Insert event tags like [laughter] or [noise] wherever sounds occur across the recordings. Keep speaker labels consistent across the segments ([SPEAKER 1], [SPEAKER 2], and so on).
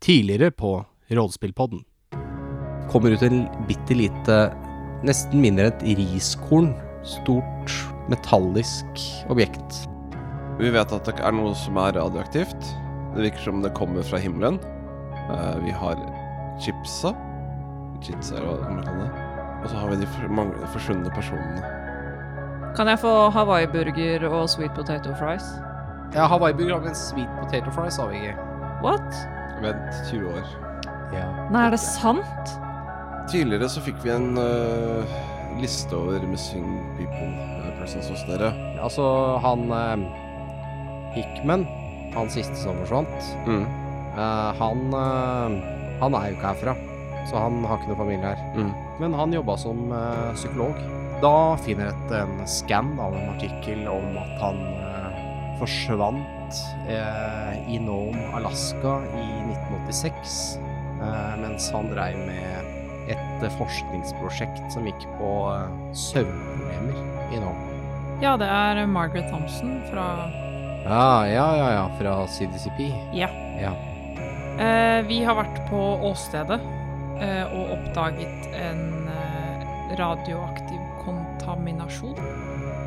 [SPEAKER 1] tidligere på Rollespillpodden. Kommer ut en bitte lite, nesten mindre enn et riskorn, stort metallisk objekt.
[SPEAKER 2] Vi vet at det er noe som er radioaktivt. Det virker som det kommer fra himmelen. Eh, vi har chipsa. Chipsa, eller hva man kaller det. Og så har vi de for- mange forsvunne personene.
[SPEAKER 3] Kan jeg få hawaiiburger og sweet potato fries?
[SPEAKER 1] Ja, Hawaii-burger har vel en sweet potato fries, har vi ikke?
[SPEAKER 3] What?
[SPEAKER 2] Vent 20 år.
[SPEAKER 3] Nei, er det sant?
[SPEAKER 2] Tidligere så fikk vi en eh, liste over missing people eh, persons hos dere.
[SPEAKER 1] Altså, han eh, Hickman, han siste som forsvant,
[SPEAKER 2] Mm.
[SPEAKER 1] eh, han, eh, han er jo ikke herfra. Så han har ikke noe familie her.
[SPEAKER 2] Mm.
[SPEAKER 1] Men han jobba som eh, psykolog. Da finner et en skann av en artikkel om at han eh, forsvant eh, i Nome, Alaska i 1986. Eh, mens han dreiv med et eh, forskningsprosjekt som gikk på eh, søvnproblemer i Nome.
[SPEAKER 3] Ja, det er Margaret Thompson fra
[SPEAKER 1] Ja, ja, ja, ja, fra CDCP.
[SPEAKER 3] Ja.
[SPEAKER 1] Ja.
[SPEAKER 3] Eh, vi har vært på åstedet eh, og oppdaget en eh, radioaktiv kontaminasjon.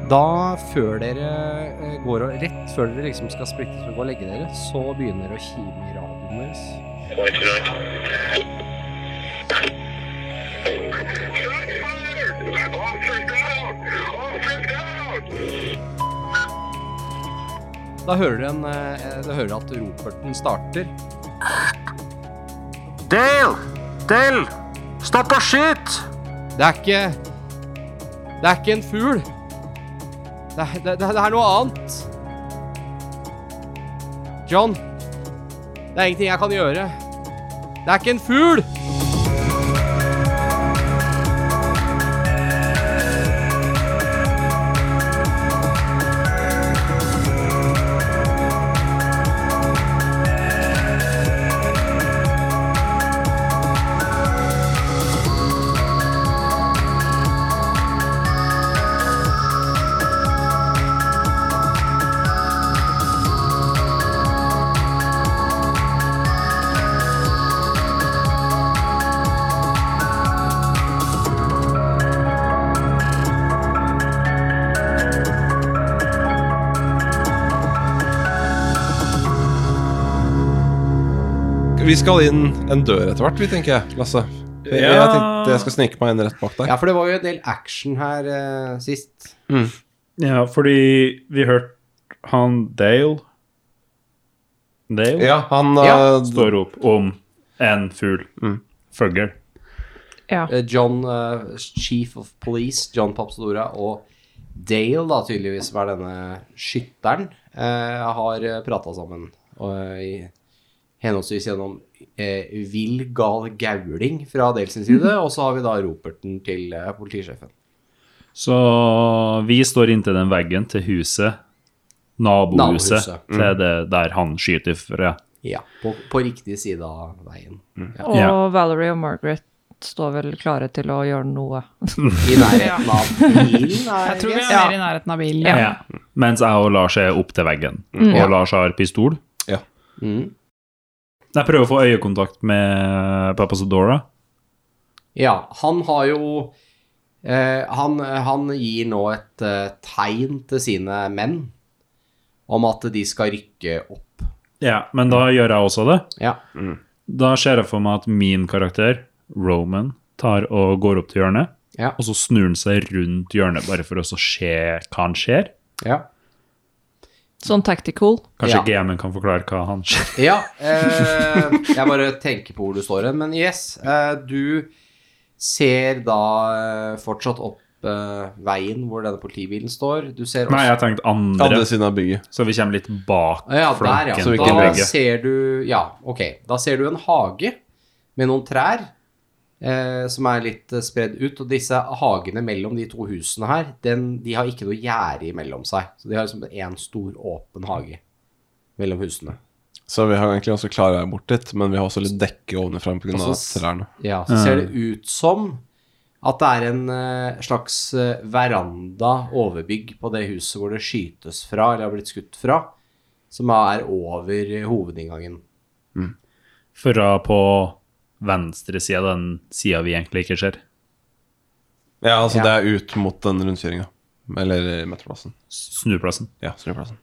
[SPEAKER 1] Da, før dere eh, går og rett før dere liksom skal splittes og gå og legge dere, så begynner det å kime i radioen deres. Da hører dere en, eh, da hører dere at roperten starter.
[SPEAKER 4] Dale! Dale! Stopp og skyt!
[SPEAKER 1] Det er ikke Det er ikke en fugl. Det, er- det, det, det er noe annet. John, det er ingenting jeg kan gjøre. Det er ikke en fugl!
[SPEAKER 2] Vi skal inn en dør etter hvert, vi, tenker jeg. Lasse. Jeg, jeg tenkte jeg skal snike meg inn rett bak der.
[SPEAKER 1] Ja, for det var jo en del action her eh, sist.
[SPEAKER 5] Ja, fordi vi hørte han Dale Dale
[SPEAKER 2] Ja, han
[SPEAKER 1] Ja.
[SPEAKER 2] eh,
[SPEAKER 5] står opp om en fugl. Fugl.
[SPEAKER 3] Ja.
[SPEAKER 1] Eh, John, eh, Chief of Police, John Papsodora og Dale, da tydeligvis, som er denne skytteren, eh, har prata sammen. Og, eh, i- henholdsvis gjennom eh, vill, gal gauling fra Dale sin side,
[SPEAKER 6] Mm.
[SPEAKER 1] og så har vi da roperten til eh, politisjefen.
[SPEAKER 5] Så vi står inntil den veggen til huset, nabohuset,
[SPEAKER 1] Nabohuset.
[SPEAKER 5] til det der han skyter fra.
[SPEAKER 1] Ja, på, på riktig side av veien.
[SPEAKER 6] Mm.
[SPEAKER 1] Ja.
[SPEAKER 3] Og
[SPEAKER 5] Ja.
[SPEAKER 3] Valerie og Margaret står vel klare til å gjøre noe.
[SPEAKER 1] I nærheten av bilen, er
[SPEAKER 6] [laughs] Jeg tror vi
[SPEAKER 1] guess.
[SPEAKER 6] er mer i nærheten av bilen.
[SPEAKER 5] Ja. Mm. Mens jeg og Lars er opp til veggen. Og
[SPEAKER 1] Ja.
[SPEAKER 5] Lars har pistol.
[SPEAKER 1] Mm.
[SPEAKER 5] Jeg prøver å få øyekontakt med Papa Sodora.
[SPEAKER 1] Ja, han har jo eh, han, han gir nå et eh, tegn til sine menn om at de skal rykke opp.
[SPEAKER 5] Ja, men da gjør jeg også det.
[SPEAKER 1] Ja.
[SPEAKER 5] Da ser jeg for meg at min karakter, Roman, tar og går opp til hjørnet.
[SPEAKER 1] Ja.
[SPEAKER 5] Og så snur han seg rundt hjørnet bare for å så se hva han ser.
[SPEAKER 1] Ja.
[SPEAKER 3] Sånn tactical.
[SPEAKER 5] Kanskje
[SPEAKER 1] Ja.
[SPEAKER 5] GM-en kan forklare hva han ser.
[SPEAKER 1] ja eh, jeg bare tenker på hvor du står hen, men yes. Eh, du ser da eh, fortsatt opp eh, veien hvor denne politibilen står. Du ser
[SPEAKER 5] Nei,
[SPEAKER 1] også
[SPEAKER 5] jeg tenkte andre,
[SPEAKER 2] andre siden av bygget.
[SPEAKER 5] så vi kommer litt bak
[SPEAKER 1] Ja, der, ja.
[SPEAKER 5] flanken.
[SPEAKER 2] Så vi
[SPEAKER 5] på
[SPEAKER 2] kan
[SPEAKER 1] da
[SPEAKER 5] begge.
[SPEAKER 1] ser du Ja, ok. Da ser du en hage med noen trær eh, som er litt eh, spredd ut. Og disse hagene mellom de to husene her, den, de har ikke noe gjerde imellom seg. Så de har liksom én stor, åpen hage mellom husene.
[SPEAKER 2] Så vi har egentlig ganske klara bort dit, men vi har også litt dekke ovenfra pga.
[SPEAKER 1] Og så s-
[SPEAKER 2] trærne.
[SPEAKER 1] Ja, så ser det ut som at det er en eh, slags eh, veranda, overbygg, på det huset hvor det skytes fra, eller har blitt skutt fra, som er over eh, hovedinngangen.
[SPEAKER 5] Føra på venstre side, den sida vi egentlig ikke ser.
[SPEAKER 2] Ja, altså
[SPEAKER 1] Ja.
[SPEAKER 2] det er ut mot den rundkjøringa. Eller metroplassen.
[SPEAKER 5] Snuplassen.
[SPEAKER 2] Ja, snuplassen.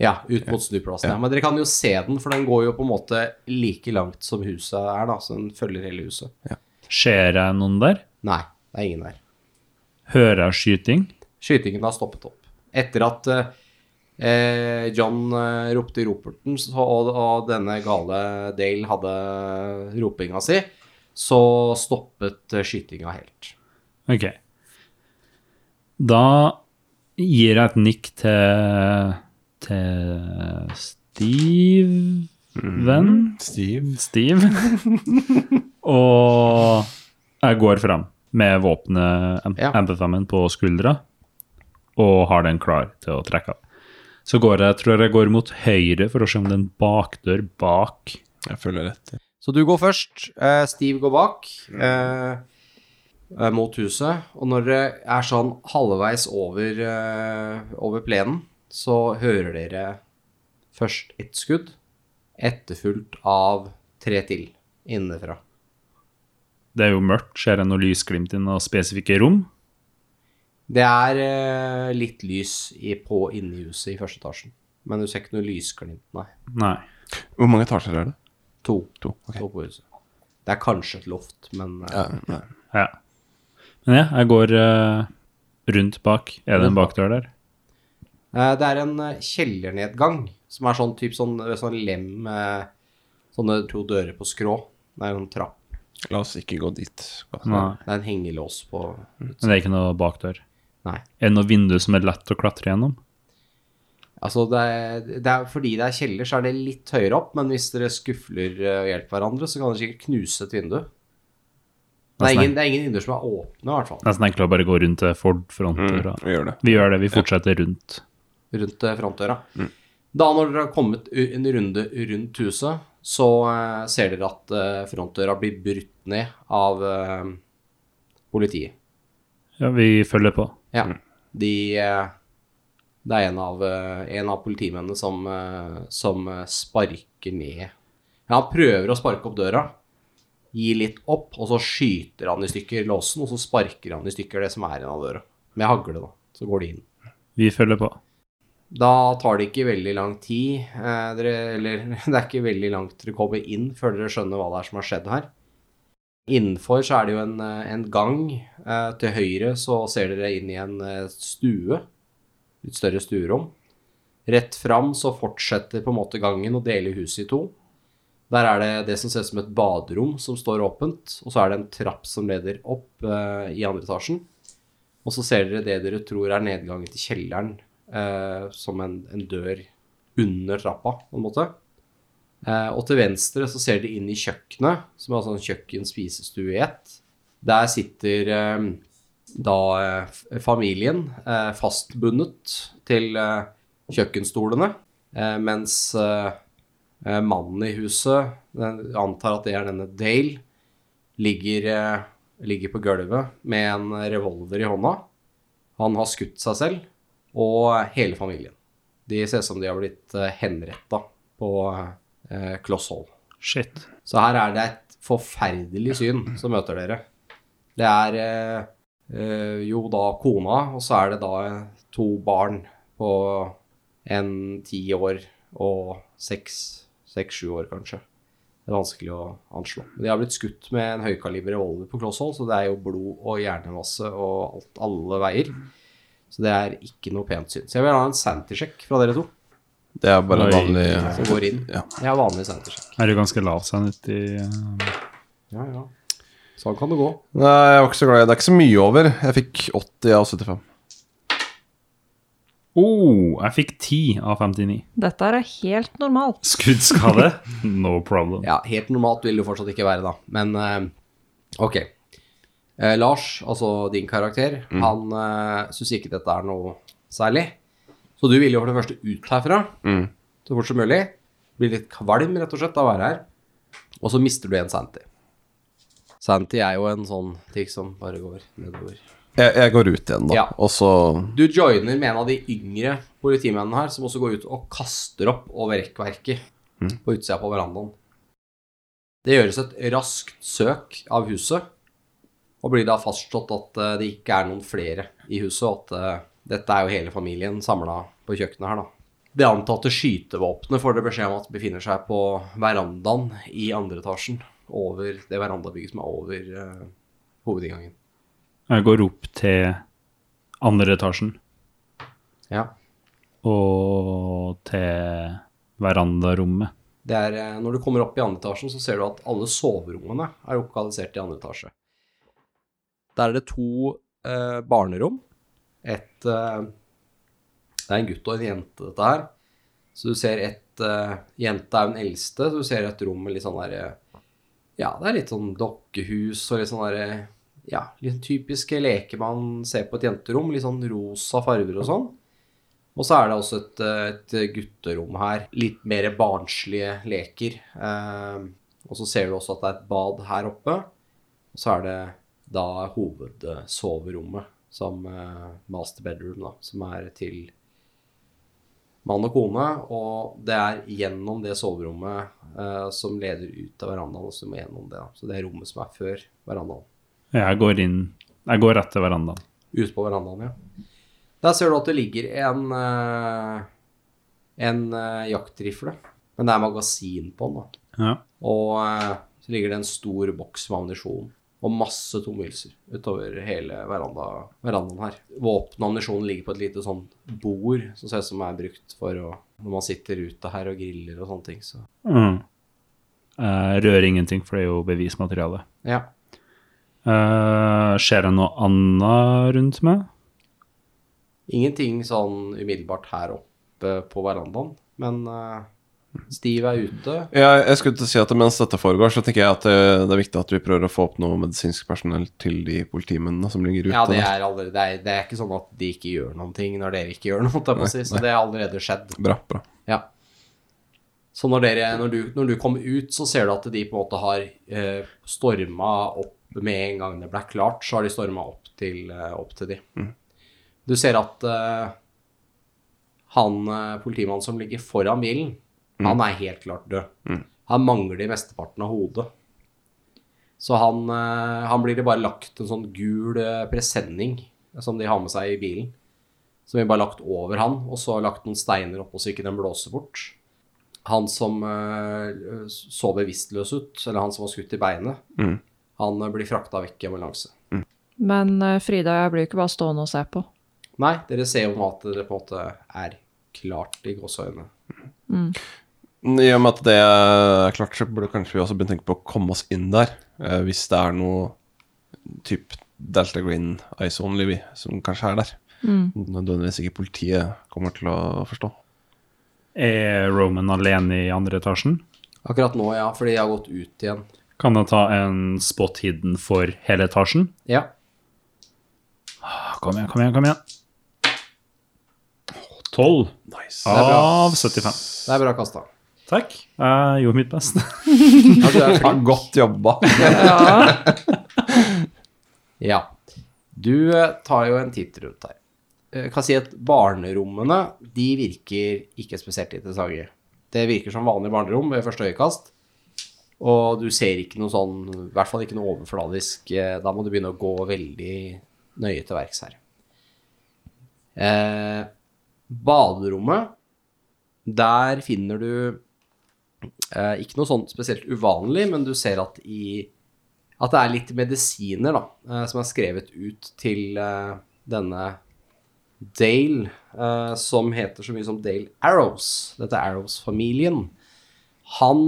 [SPEAKER 1] Ja, ut mot snuplassen. Ja.
[SPEAKER 2] Ja.
[SPEAKER 1] Men dere kan jo se den, for den går jo på en måte like langt som huset er, da. Så den følger hele huset.
[SPEAKER 5] Ser jeg noen der?
[SPEAKER 1] Nei, det er ingen der.
[SPEAKER 5] Hører jeg skyting?
[SPEAKER 1] Skytingen har stoppet opp. Etter at eh, eh, John eh, ropte i roperten, så, og, og denne gale Dale hadde ropinga si, så stoppet eh, skytinga helt.
[SPEAKER 5] Ok. Da gir jeg et nikk til, til Steven.
[SPEAKER 2] Mm. Stiv.
[SPEAKER 5] Steve. og jeg går fram med våpenet, M-
[SPEAKER 1] Ja.
[SPEAKER 5] MP5-en, på skuldra og har den klar til å trekke av. Så går jeg, tror jeg går mot høyre for å se om det er en bakdør bak.
[SPEAKER 2] Jeg føler rett. ja.
[SPEAKER 1] Så du går først, eh, Steve går bak eh, eh, mot huset, og når det er sånn halvveis over, eh, over plenen, så hører dere først ett skudd, etterfulgt av tre til innenfra.
[SPEAKER 5] Det er jo mørkt, ser jeg noe lysglimt i noen spesifikke rom.
[SPEAKER 1] Det er eh, litt lys i, på inni huset i første etasjen, men du ser ikke noe lysglimt, nei.
[SPEAKER 5] Nei.
[SPEAKER 2] Hvor mange etasjer er det?
[SPEAKER 1] To.
[SPEAKER 2] To. ok.
[SPEAKER 1] To på huset. Det er kanskje et loft, men eh,
[SPEAKER 2] Ja, nei.
[SPEAKER 5] Ja. Men ja, jeg går eh, rundt bak. Er det en bakdør der?
[SPEAKER 1] Eh, Det er en eh, kjellernedgang som er sånn typ sånn, sånn lem eh, Sånne to dører på skrå. Det er en trapp.
[SPEAKER 2] La oss ikke gå dit.
[SPEAKER 5] Nei.
[SPEAKER 1] Det er en hengelås på
[SPEAKER 5] Men det er ikke noe bakdør.
[SPEAKER 1] Nei.
[SPEAKER 5] Er det noe vindu som er lett å klatre gjennom?
[SPEAKER 1] Altså, det er, det er, fordi det er kjeller, så er det litt høyere opp, men hvis dere skufler eh, og hjelper hverandre, så kan dere sikkert knuse et vindu. Det er
[SPEAKER 5] Nesten
[SPEAKER 1] ingen, det er ingen vinduer som er åpne, i hvert fall.
[SPEAKER 5] Nesten enklere å bare gå rundt til Ford frontdøra.
[SPEAKER 2] Mm, Vi gjør det.
[SPEAKER 5] Vi gjør det, vi fortsetter rundt.
[SPEAKER 1] rundt eh, frontdøra. Da når dere har kommet u- en runde rundt huset, så eh, ser dere at eh, frontdøra blir brutt ned av eh, politiet.
[SPEAKER 5] Ja, vi følger på.
[SPEAKER 1] Ja. De eh, Det er en av, eh, en av politimennene som, eh, som eh, sparker ned Ja, han prøver å sparke opp døra, gir litt opp, og så skyter han i stykker låsen, og så sparker han i stykker det som er igjen av døra. Med hagle, da. Så går de inn.
[SPEAKER 5] Vi følger på.
[SPEAKER 1] Da tar det ikke veldig lang tid, eh, dere, eller [laughs] det er ikke veldig langt dere kommer inn før dere skjønner hva det er som har skjedd her. Innenfor så er det jo en, eh, en gang. Eh, til høyre så ser dere inn i en eh, stue, litt større stuerom. Rett fram så fortsetter på en måte gangen og deler huset i to. Der er det det som ser ut som et baderom som står åpent, og så er det en trapp som leder opp eh, i andre etasjen. Og så ser dere det dere tror er nedgangen til kjelleren, eh, som en, en dør under trappa, på en måte. Eh, og til venstre så ser dere inn i kjøkkenet, som er altså en kjøkken-spisestue i ett. Der sitter eh, da eh, f- familien eh, fastbundet til eh, kjøkkenstolene, eh, mens eh, eh, mannen i huset, den, jeg antar at det er denne Dale, ligger, eh, ligger på gulvet med en revolver i hånda. Han har skutt seg selv og hele familien. De ser ut som de har blitt eh, henretta på eh, kloss hold.
[SPEAKER 5] Shit.
[SPEAKER 1] Så her er det et forferdelig syn som møter dere. Det er eh, eh, jo da kona, og så er det da eh, to barn på en ti år og seks, seks, sju år kanskje. Det er vanskelig å anslå. De har blitt skutt med en høykaliber revolver på kloss hold, så det er jo blod og hjernemasse og alt alle veier. Så det er ikke noe pent syn. Så jeg vil ha en sanity-sjekk fra dere to.
[SPEAKER 2] Det er bare en
[SPEAKER 5] Oi.
[SPEAKER 2] vanlig
[SPEAKER 1] Som går inn.
[SPEAKER 2] Ja.
[SPEAKER 1] Jeg har vanlig sanity-sjekk.
[SPEAKER 5] Er jo ganske lav sanity. eh,
[SPEAKER 1] Ja, ja. Sånn kan det gå.
[SPEAKER 2] Nei, jeg var ikke så glad i det. Det er ikke så mye over. Jeg fikk 80 av 75.
[SPEAKER 5] Oh, jeg fikk 10 av 59.
[SPEAKER 6] Dette er helt normalt.
[SPEAKER 5] Skuddskade? [laughs] No problem.
[SPEAKER 1] Ja, helt normalt vil det jo fortsatt ikke være, da. Men eh, ok. Eh, Lars, altså din karakter, han uh, syns ikke dette er noe særlig. Så du vil jo for det første ut herfra så fort som mulig. Blir litt kvalm, rett og slett, av å være her. Og så mister du en Santi. Santi er jo en sånn ting som bare går nedover.
[SPEAKER 2] Jeg, jeg går ut igjen, da.
[SPEAKER 1] Ja.
[SPEAKER 2] Og så
[SPEAKER 1] Du joiner med en av de yngre politimennene her, som også går ut og kaster opp over rekkverket på utsida på verandaen. Det gjøres et raskt søk av huset, og blir da fastslått at eh, det ikke er noen flere i huset, og at eh, dette er jo hele familien samla på kjøkkenet her, da. Det antatte skytevåpenet får dere beskjed om at befinner seg på verandaen i andre etasjen, over det verandabygget som er over eh, hovedinngangen.
[SPEAKER 5] Jeg går opp til andre etasjen
[SPEAKER 1] Ja.
[SPEAKER 5] og til verandarommet.
[SPEAKER 1] Det er, eh, når du kommer opp i andre etasjen, så ser du at alle soverommene er lokalisert i andre etasje. Der er det to eh, barnerom. Et eh, Det er en gutt og en jente, dette her. Så du ser et eh, Jenta er jo den eldste, så du ser et rom med litt sånn derre Ja, det er litt sånn dokkehus og litt sånn derre Ja, litt typiske leker man ser på et jenterom. Litt sånn rosa farger og sånn. Og så er det også et, eh, et gutterom her. Litt mer barnslige leker. Eh, Og så ser du også at det er et bad her oppe. Og så er det da hovedsoverommet, som eh, master bedroom, da, som er til mann og kone. Og det er gjennom det soverommet eh, som leder ut av verandaen. og Så du må gjennom det, da. Så det er rommet som er før verandaen.
[SPEAKER 5] Jeg går inn Jeg går rett til verandaen.
[SPEAKER 1] Ute på verandaen, ja. Der ser du at det ligger en eh, en eh, jaktrifle. Men det er magasin på den, da.
[SPEAKER 5] Ja.
[SPEAKER 1] Og eh, så ligger det en stor boks med ammunisjon og masse tomhylser utover hele veranda, verandaen her. Våpen og ammunisjon ligger på et lite sånn bord som ser ut som er brukt for å Når man sitter ute her og griller og sånne ting, så
[SPEAKER 5] Mm. Jeg rører ingenting, for det er jo bevismateriale.
[SPEAKER 1] Ja.
[SPEAKER 5] Eh, Skjer det noe annet rundt meg?
[SPEAKER 1] Ingenting sånn umiddelbart her oppe på verandaen, men eh, Steve er ute.
[SPEAKER 2] Jeg, jeg skulle til å si at mens dette foregår, så tenker jeg at eh, det er viktig at vi prøver å få opp noe medisinsk personell til de politimennene som ligger ute.
[SPEAKER 1] Ja, det
[SPEAKER 2] der.
[SPEAKER 1] er, allerede, det, er, det er ikke sånn at de ikke gjør noen ting når dere ikke gjør noe, holdt jeg på å si, så
[SPEAKER 2] nei.
[SPEAKER 1] det har allerede skjedd.
[SPEAKER 2] Bra, bra.
[SPEAKER 1] Ja. Så når, dere, når, du, når du kommer ut, så ser du at de på en måte har eh, storma opp med en gang det ble klart, så har de storma opp til, eh, opp til de. Du ser at eh, han eh, politimannen som ligger foran bilen, han er helt klart død. Han mangler mesteparten av hodet. Så han, eh, han blir det bare lagt en sånn gul eh, presenning som de har med seg i bilen. Som vi bare lagt over han, og så lagt noen steiner oppå så ikke den blåser bort. Han som eh, så bevisstløs ut, eller han som var skutt i beinet, han eh, blir frakta vekk i ambulanse.
[SPEAKER 6] Men eh, Frida og jeg blir jo ikke bare stående og se på.
[SPEAKER 1] Nei, dere ser jo nå at det på en måte er klart i gåseøynene.
[SPEAKER 2] Mm, I og med at det er klart, så burde kanskje vi også begynne å tenke på å komme oss inn der. eh, hvis det er noe typ Delta Green Ice Only vi, som kanskje er der. Nødvendigvis ikke politiet kommer til å forstå.
[SPEAKER 5] Er Roman alene i andre etasjen?
[SPEAKER 1] Akkurat nå, ja, fordi jeg har gått ut igjen.
[SPEAKER 5] Kan jeg ta en spot hidden for hele etasjen?
[SPEAKER 1] Ja,
[SPEAKER 5] Ah, Kom igjen, kom igjen, kom igjen. Tolv
[SPEAKER 2] Nice.
[SPEAKER 5] av 75.
[SPEAKER 1] det er bra kasta.
[SPEAKER 5] Takk. Jeg gjorde mitt [laughs] beste.
[SPEAKER 1] Ja, du er flink.
[SPEAKER 2] Godt jobba. [laughs]
[SPEAKER 1] Ja. Du eh, tar jo en titt rundt her. Eh, Jeg kan si at barnerommene, de virker ikke spesielt interessante. Det virker som vanlige barnerom ved første øyekast. Og du ser ikke noe sånn, i hvert fall ikke noe overfladisk. eh, Da må du begynne å gå veldig nøye til verks her. Eh, baderommet, der finner du eh, ikke noe sånn spesielt uvanlig, men du ser at i at det er litt medisiner da, eh, som er skrevet ut til eh, denne Dale, eh, som heter så mye som Dale Arrows. Dette er Arrows-familien. Han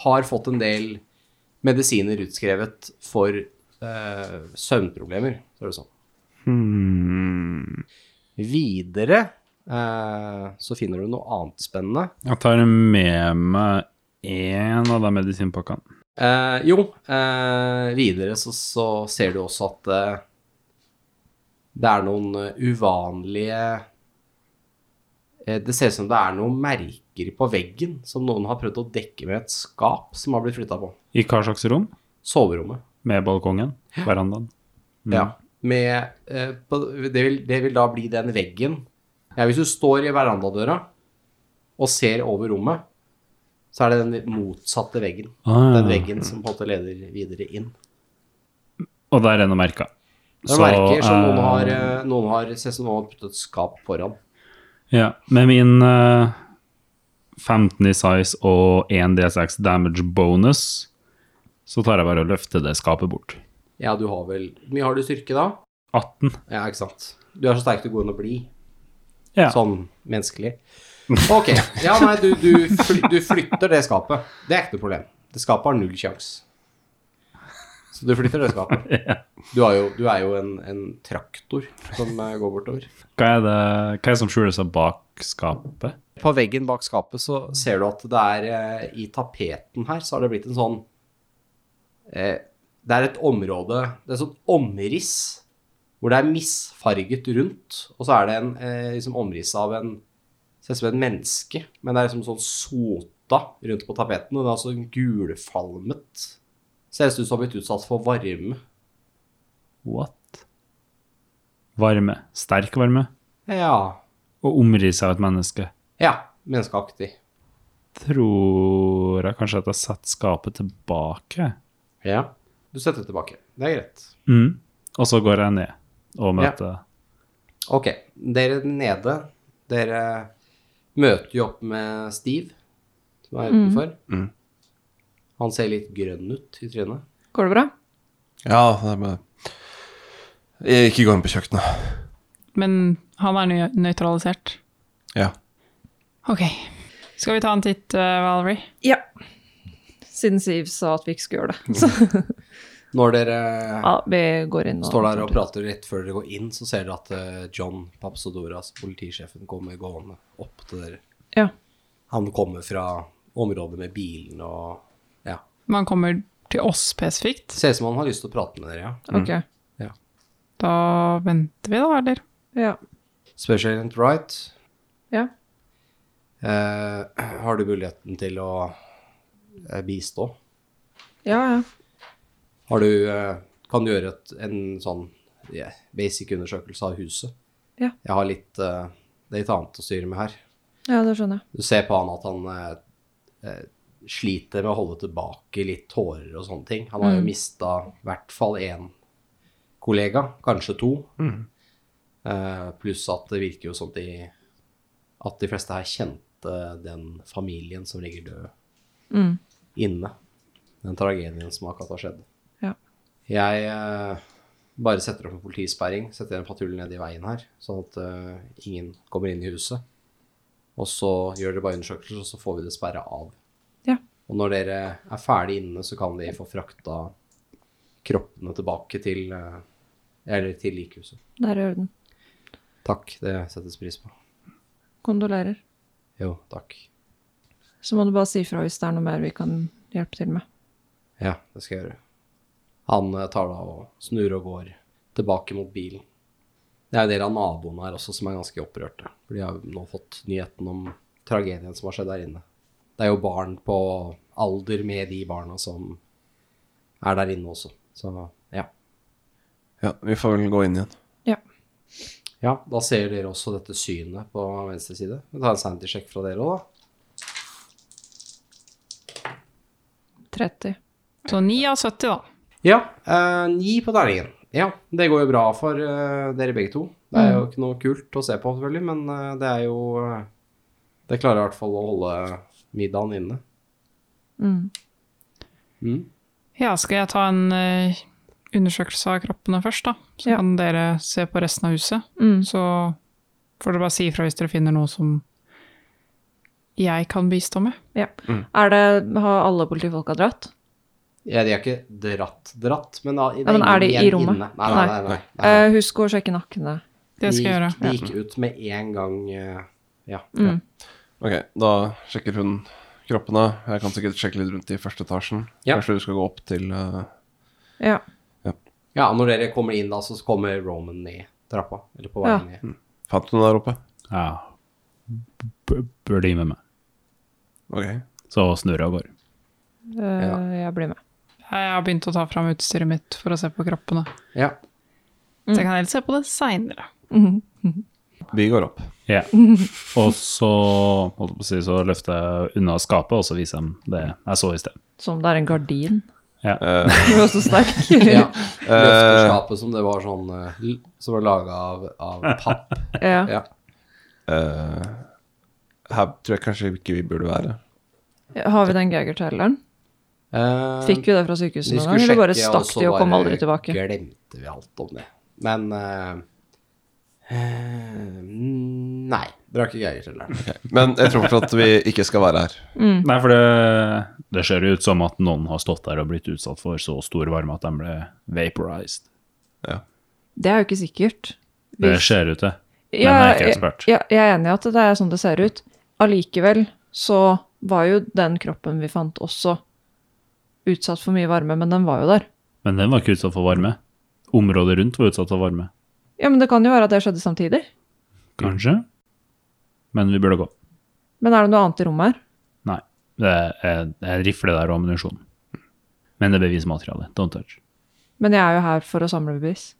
[SPEAKER 1] har fått en del medisiner utskrevet for eh, søvnproblemer, ser det sånn. Videre eh, så finner du noe annet spennende.
[SPEAKER 5] Jeg tar med meg én av de medisinpakkene.
[SPEAKER 1] Eh, jo, eh, videre så, så ser du også at eh, det er noen eh, uvanlige eh, Det ser ut som det er noen merker på veggen som noen har prøvd å dekke med et skap som har blitt flytta på.
[SPEAKER 5] I hva slags rom?
[SPEAKER 1] Soverommet.
[SPEAKER 5] Med balkongen? Verandaen? Mm.
[SPEAKER 1] Ja. Med, eh, på, det, vil, det vil da bli den veggen. Ja, hvis du står i verandadøra og ser over rommet, så er det den motsatte veggen.
[SPEAKER 5] Ah.
[SPEAKER 1] Den veggen som på en måte leder videre inn.
[SPEAKER 5] Og der er noe merka.
[SPEAKER 1] Det er merker som noen har, eh, noen har ser ut som noen har puttet et skap foran.
[SPEAKER 5] Ja, med min eh, 15 i size og 1 D6 damage bonus, så tar jeg bare og løfter det skapet bort.
[SPEAKER 1] Ja, du har vel Hvor mye har du i styrke da?
[SPEAKER 5] 18.
[SPEAKER 1] Ja, ikke sant. Du er så sterk du går an å bli.
[SPEAKER 5] Ja.
[SPEAKER 1] Sånn menneskelig. Ok. Ja, nei, du, du, fly, du flytter det skapet. Det er ikke noe problem. Det skapet har null sjanse. Så du flytter det skapet. Du er jo, du er jo en, en traktor som eh, går bortover.
[SPEAKER 5] Hva er det hva er det som skjuler seg bak skapet?
[SPEAKER 1] På veggen bak skapet så ser du at det er eh, I tapeten her så har det blitt en sånn eh, Det er et område Det er et sånt omriss hvor det er misfarget rundt, og så er det en eh, liksom omriss av en Ser ut som et menneske, men det er liksom sånn sota rundt på tapeten. Og det er altså gulfalmet. Ser ut som det har blitt utsatt for varme.
[SPEAKER 5] What? Varme. Sterk varme.
[SPEAKER 1] Ja.
[SPEAKER 5] Og omrisset av et menneske.
[SPEAKER 1] Ja. Menneskeaktig.
[SPEAKER 5] Tror jeg kanskje at jeg setter skapet tilbake.
[SPEAKER 1] Ja. Du setter det tilbake. Det er greit.
[SPEAKER 5] Mm. Og så går jeg ned og
[SPEAKER 1] Ja.
[SPEAKER 5] møter
[SPEAKER 1] Ok, dere nede, dere møter jo opp med Steve, som er utenfor.
[SPEAKER 2] Mm.
[SPEAKER 1] Han ser litt grønn ut i trynet.
[SPEAKER 6] Går det bra?
[SPEAKER 2] Ja, det er med Jeg Ikke gå inn på kjøkkenet.
[SPEAKER 3] Men han er nøy- nøytralisert.
[SPEAKER 2] Ja.
[SPEAKER 3] Ok. Skal vi ta en titt, eh, Valerie?
[SPEAKER 6] Ja. Siden Siv sa at vi ikke skulle gjøre
[SPEAKER 1] [laughs]
[SPEAKER 6] det. Så
[SPEAKER 1] Når dere
[SPEAKER 6] ja, vi går inn og
[SPEAKER 1] står der og prater rett før dere går inn, så ser dere at eh, John Papsodoras, politisjefen, kommer gående opp til dere.
[SPEAKER 6] Ja.
[SPEAKER 1] Han kommer fra området med bilen og ja.
[SPEAKER 3] Man kommer til oss spesifikt.
[SPEAKER 1] Ser ut som han har lyst til å prate med dere, ja.
[SPEAKER 6] Ok.
[SPEAKER 3] Da venter vi, da, eller?
[SPEAKER 6] Ja.
[SPEAKER 1] Special Agent Wright,
[SPEAKER 6] ja.
[SPEAKER 1] eh, [clears throat] har du muligheten til å eh, bistå?
[SPEAKER 6] Ja, ja.
[SPEAKER 1] Har du, eh, kan du gjøre et, en sånn ja, basic undersøkelse av huset?
[SPEAKER 6] Ja.
[SPEAKER 1] Jeg har litt, eh, det er litt annet å styre med her.
[SPEAKER 6] Ja, det skjønner jeg.
[SPEAKER 1] Du ser på han at han eh, eh, sliter med å holde tilbake litt tårer og sånne ting. Han har jo mista i hvert fall én kollega, kanskje to. Eh, pluss at det virker jo sånn at de, at de fleste her kjente den familien som ligger død inne. Den tragedien som akkurat har skjedd.
[SPEAKER 6] Ja.
[SPEAKER 1] Jeg eh, bare setter opp en politisperring, setter en patrulje ned i veien her, sånn at eh, ingen kommer inn i huset. Og så gjør dere bare undersøkelser, og så får vi det sperra av.
[SPEAKER 6] Ja.
[SPEAKER 1] Og når dere er ferdig inne, så kan vi få frakta kroppene tilbake til eh, Eller til likhuset.
[SPEAKER 6] Det er i orden.
[SPEAKER 1] Takk, det settes pris på.
[SPEAKER 6] Kondolerer.
[SPEAKER 1] Jo, takk.
[SPEAKER 6] Så må du bare si fra hvis det er noe mer vi kan hjelpe til med.
[SPEAKER 1] Ja, det skal jeg gjøre. Han eh, tar da og snur og går tilbake mot bilen. Det er en del av naboene her også som er ganske opprørte. For de har jo nå fått nyheten om tragedien som har skjedd der inne. Det er jo barn på alder med de barna som er der inne også. Så ja.
[SPEAKER 2] ja. Vi får vel gå inn igjen.
[SPEAKER 1] Ja, da ser dere også dette synet på venstre side. Vi tar en sanity-sjekk fra dere òg, da.
[SPEAKER 6] 30.
[SPEAKER 3] Så 9 av 70, da.
[SPEAKER 1] Ja, eh, ni på terningen. Ja, det går jo bra for eh, dere begge to. Det er jo ikke noe kult å se på, selvfølgelig, men eh, det er jo eh, Det klarer i hvert fall å holde middagen inne.
[SPEAKER 6] Mm.
[SPEAKER 1] Mm.
[SPEAKER 3] Ja, skal jeg ta en eh, undersøkelse av kroppene først, da? Så
[SPEAKER 6] Ja.
[SPEAKER 3] kan dere se på resten av huset.
[SPEAKER 6] Mm.
[SPEAKER 3] Så får dere bare si ifra hvis dere finner noe som jeg kan bistå med.
[SPEAKER 6] Ja.
[SPEAKER 1] Mm.
[SPEAKER 6] Er det, har alle politifolka dratt?
[SPEAKER 1] Ja, de er ikke dratt-dratt, men, da- det
[SPEAKER 6] Ja, men er de
[SPEAKER 1] ingen
[SPEAKER 6] i
[SPEAKER 1] igjen
[SPEAKER 6] rommet?
[SPEAKER 1] Inne. Nei, nei, nei. nei, nei,
[SPEAKER 6] Eh, husk å sjekke nakkene.
[SPEAKER 3] Det skal jeg gjøre.
[SPEAKER 1] De gikk, de gikk ut med en gang eh, Ja.
[SPEAKER 6] Mm.
[SPEAKER 2] Ok, da sjekker hun kroppene. Jeg kan sikkert sjekke litt rundt i første etasjen.
[SPEAKER 1] Ja.
[SPEAKER 2] Kanskje du skal gå opp til eh,
[SPEAKER 6] Ja.
[SPEAKER 1] ja, når dere kommer inn, da, så kommer Roman ned trappa. Eller på vei
[SPEAKER 6] Ja.
[SPEAKER 1] ned.
[SPEAKER 2] Fant hun der oppe?
[SPEAKER 5] Ja. B bør bli med meg.
[SPEAKER 2] Ok.
[SPEAKER 5] Så snurrer jeg og går.
[SPEAKER 6] Eh,
[SPEAKER 1] Ja.
[SPEAKER 6] Jeg blir med.
[SPEAKER 3] Jeg har begynt å ta fram utstyret mitt for å se på kroppene.
[SPEAKER 1] Ja.
[SPEAKER 6] Mm.
[SPEAKER 3] Så jeg kan heller se på det seinere.
[SPEAKER 2] Vi går opp.
[SPEAKER 5] Ja. Og så, holdt jeg på å si, så løfter jeg unna skapet, og så viser jeg dem det jeg så i sted.
[SPEAKER 6] Som om det er en gardin.
[SPEAKER 5] Ja.
[SPEAKER 2] Eh,
[SPEAKER 6] Du er så sterk.
[SPEAKER 1] [laughs] Ja.
[SPEAKER 6] ja.
[SPEAKER 1] Løfteskapet som det var sånn eh, l- Som var laga av, av papp.
[SPEAKER 6] [laughs] Ja.
[SPEAKER 1] Ja.
[SPEAKER 2] eh, her tror jeg kanskje ikke vi burde være.
[SPEAKER 6] Har vi den geigertelleren?
[SPEAKER 1] Eh,
[SPEAKER 6] Fikk vi det fra
[SPEAKER 1] vi
[SPEAKER 6] sykehuset noen
[SPEAKER 1] skulle
[SPEAKER 6] gang, eller bare
[SPEAKER 1] sjekke,
[SPEAKER 6] stakk
[SPEAKER 1] så
[SPEAKER 6] de og kom
[SPEAKER 1] bare
[SPEAKER 6] aldri tilbake?
[SPEAKER 1] Glemte vi alt om det. Men eh, eh, Nei. Dere har ikke geigertelleren.
[SPEAKER 2] Men jeg tror fortsatt at vi ikke skal være her.
[SPEAKER 5] Nei, for det, det ser ut som at noen har stått der og blitt utsatt for så stor varme at de ble vaporized.
[SPEAKER 6] Det er jo ikke sikkert.
[SPEAKER 5] Det
[SPEAKER 6] Hvis-
[SPEAKER 5] ser ut til. Men jeg er
[SPEAKER 6] Ja,
[SPEAKER 5] ikke
[SPEAKER 6] jeg,
[SPEAKER 5] ekspert.
[SPEAKER 6] ja, jeg er enig i at det er sånn det ser ut. Allikevel så var jo den kroppen vi fant også utsatt for mye varme, men den var jo der.
[SPEAKER 5] Men den var ikke utsatt for varme. Området rundt var utsatt for varme.
[SPEAKER 6] Ja, men det kan jo være at det skjedde samtidig.
[SPEAKER 5] Kanskje. Men vi burde gå.
[SPEAKER 6] Men er det noe annet i rommet her?
[SPEAKER 5] Nei. Det er det er en rifle der og ammunisjon. Men det er bevismateriale. Don't touch.
[SPEAKER 6] Men jeg er jo her for å samle bevis.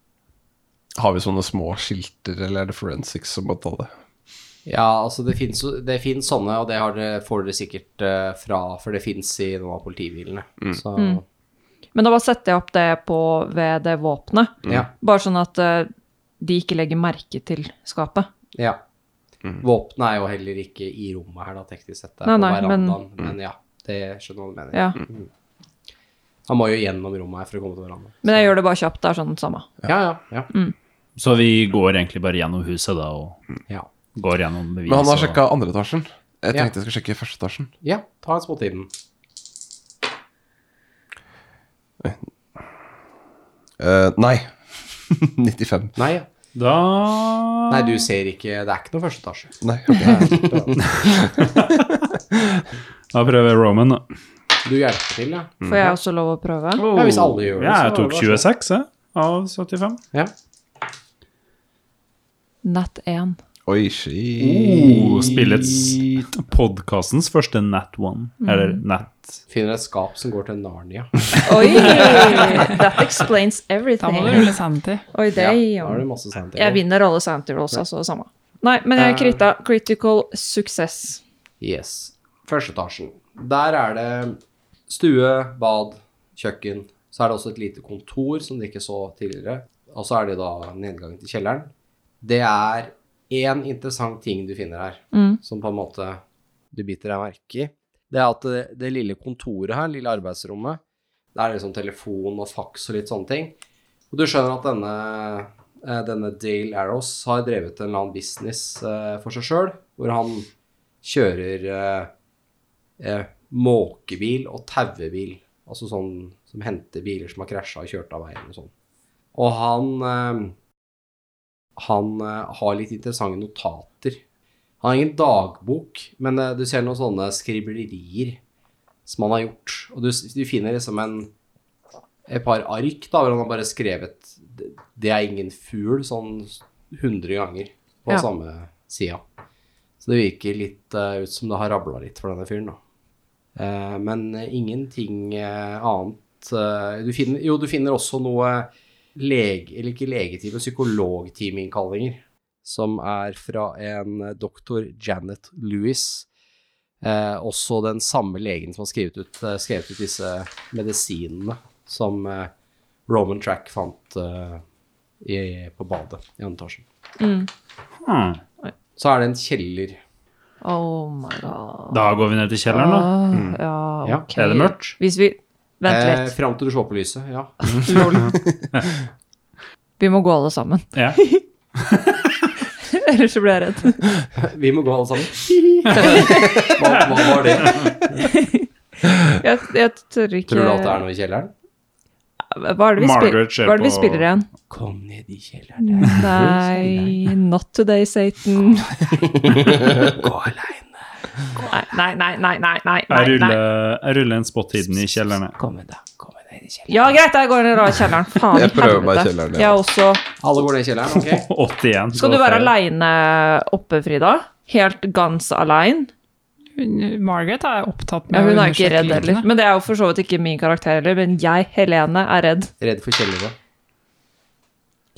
[SPEAKER 2] Har vi sånne små skilter, eller er det forensics som må ta det?
[SPEAKER 1] Ja, altså det finnes, jo- det finnes sånne, og det har dere, får dere sikkert eh, fra, for det finnes i noen av politibilene.
[SPEAKER 6] Mm.
[SPEAKER 1] Så,
[SPEAKER 6] Men da bare setter jeg opp det på ved det våpenet.
[SPEAKER 1] ja,
[SPEAKER 6] Bare sånn at eh, de ikke legger merke til skapet.
[SPEAKER 1] ja.
[SPEAKER 6] Mm.
[SPEAKER 1] Våpenet er jo heller ikke i rommet her, da, teknisk sett. Det er på
[SPEAKER 6] Nei, nei, men-
[SPEAKER 1] verandaen, men,
[SPEAKER 6] Mm.
[SPEAKER 1] ja, det skjønner hva du mener.
[SPEAKER 6] Ja.
[SPEAKER 1] Han må jo gjennom rommet her for å komme til verandaen.
[SPEAKER 6] Men jeg gjør det bare kjapt. Det er sånn samme.
[SPEAKER 1] Ja, ja, ja.
[SPEAKER 6] Mm.
[SPEAKER 5] Så vi går egentlig bare gjennom huset da, og
[SPEAKER 1] ja.
[SPEAKER 5] går gjennom bevis.
[SPEAKER 2] Men han har
[SPEAKER 5] og-
[SPEAKER 2] sjekka andre etasjen. Jeg
[SPEAKER 1] Ja.
[SPEAKER 2] tenkte jeg skulle sjekke første etasjen.
[SPEAKER 1] ja ta en spot i den.
[SPEAKER 2] Eh, nei. [laughs] 95.
[SPEAKER 1] Nei, ja.
[SPEAKER 5] Da
[SPEAKER 1] nei, du ser ikke, det er ikke noe første etasje.
[SPEAKER 2] Nei, ok.
[SPEAKER 5] Da prøver jeg Roman, da.
[SPEAKER 1] Du hjelper til, ja.
[SPEAKER 6] Får jeg også lov å prøve?
[SPEAKER 1] Ja, hvis alle gjør det,
[SPEAKER 5] Ja, jeg
[SPEAKER 1] så er
[SPEAKER 5] tok
[SPEAKER 1] det bare
[SPEAKER 5] 26 jeg, av 75.
[SPEAKER 1] ja.
[SPEAKER 6] Nat 1.
[SPEAKER 2] Oi, shit.
[SPEAKER 5] Oh, spillets Podkastens første Nat One. Eller
[SPEAKER 6] Mm.
[SPEAKER 5] Nat
[SPEAKER 1] Finner et skap som går til Narnia.
[SPEAKER 6] Oi! That explains
[SPEAKER 3] Da må du
[SPEAKER 6] everything.
[SPEAKER 3] rulle sanity.
[SPEAKER 6] Oi, det
[SPEAKER 1] Da har du masse sant.
[SPEAKER 6] Jeg vinner alle sanity rolls, altså det samme. Nei, men jeg kritta critical success.
[SPEAKER 1] Yes. Første etasjen. Der er det stue, bad, kjøkken. Så er det også et lite kontor som de ikke så tidligere. Og så er det da nedgangen til kjelleren. Det er én interessant ting du finner her, som på en måte du biter deg merke i. Det er at det, det lille kontoret her, lille arbeidsrommet, det er liksom telefon og faks og litt sånne ting. Og du skjønner at denne, eh, denne Dale Arrows har drevet en eller annen business eh, for seg sjøl, hvor han kjører eh, eh, måkebil og tauebil. Altså sånn som henter biler som har krasja og kjørt av veien og sånn. Og han eh, han eh, har litt interessante notater. Han har ingen dagbok, men eh, du ser noen sånne skriblerier som han har gjort. Og du, s- du finner liksom en et par ark da, hvor han har bare skrevet "Det- 'Det er ingen fugl' sånn 100 ganger på
[SPEAKER 6] Ja.
[SPEAKER 1] samme sida. Så det virker litt eh, ut som det har rabla litt for denne fyren, da. Eh, men eh, ingenting eh, annet eh, du finner, Jo, du finner også noe lege, eller ikke legetime, psykologtimeinnkallinger, som er fra en eh, doktor Janet Lewis. Eh, også den samme legen som har skrevet ut, eh, skrevet ut disse medisinene som eh, Roman Track fant eh, i, på badet i andre etasjen.
[SPEAKER 5] hmm.
[SPEAKER 1] Så er det en kjeller.
[SPEAKER 6] Oh my god.
[SPEAKER 5] Da går vi ned til kjelleren, da.
[SPEAKER 6] Ah, ja,
[SPEAKER 1] Ja,
[SPEAKER 6] ok.
[SPEAKER 5] Er det mørkt?
[SPEAKER 6] Hvis vi Vent
[SPEAKER 1] Eh,
[SPEAKER 6] litt.
[SPEAKER 1] Fram til du slår på lyset, ja.
[SPEAKER 6] Vi må gå alle sammen. [laughs]
[SPEAKER 5] Ja.
[SPEAKER 6] Ellers så blir jeg redd.
[SPEAKER 1] Vi må gå alle [laughs] sammen. Hva, hva var det?
[SPEAKER 6] Jeg, jeg tør ikke
[SPEAKER 1] Tror du at det er noe i kjelleren?
[SPEAKER 6] Hva er det vi, spil
[SPEAKER 5] Margaret ser
[SPEAKER 6] Hva er det vi
[SPEAKER 5] på-
[SPEAKER 6] spiller igjen?
[SPEAKER 1] Kom ned i kjelleren.
[SPEAKER 6] Nei, not today, Satan.
[SPEAKER 1] Gå aleine.
[SPEAKER 6] Nei, nei, nei, nei, nei. nei,
[SPEAKER 5] Jeg
[SPEAKER 6] nei, nei.
[SPEAKER 5] ruller, jeg ruller en spot hidden i kjelleren.
[SPEAKER 1] Kom ned, da. Kom ned i kjelleren.
[SPEAKER 6] Ja, greit, jeg går ned i
[SPEAKER 2] [laughs]
[SPEAKER 6] kjelleren. Faen i
[SPEAKER 2] Jeg prøver meg i
[SPEAKER 6] helvete.
[SPEAKER 2] kjelleren, ja.
[SPEAKER 6] Jeg er også
[SPEAKER 1] Alle går ned i kjelleren, ok?
[SPEAKER 5] 81.
[SPEAKER 6] Skal
[SPEAKER 5] så
[SPEAKER 6] du være
[SPEAKER 5] feil.
[SPEAKER 6] aleine oppe, Frida? Helt guns aleine?
[SPEAKER 3] Hun- Margaret er opptatt med
[SPEAKER 6] Ja, hun
[SPEAKER 3] å
[SPEAKER 6] er ikke
[SPEAKER 3] undersøke
[SPEAKER 6] redd heller.
[SPEAKER 3] likene.
[SPEAKER 6] Men det er jo for så vidt ikke min karakter heller. Men jeg, Helene, er redd.
[SPEAKER 1] Redd for kjellere.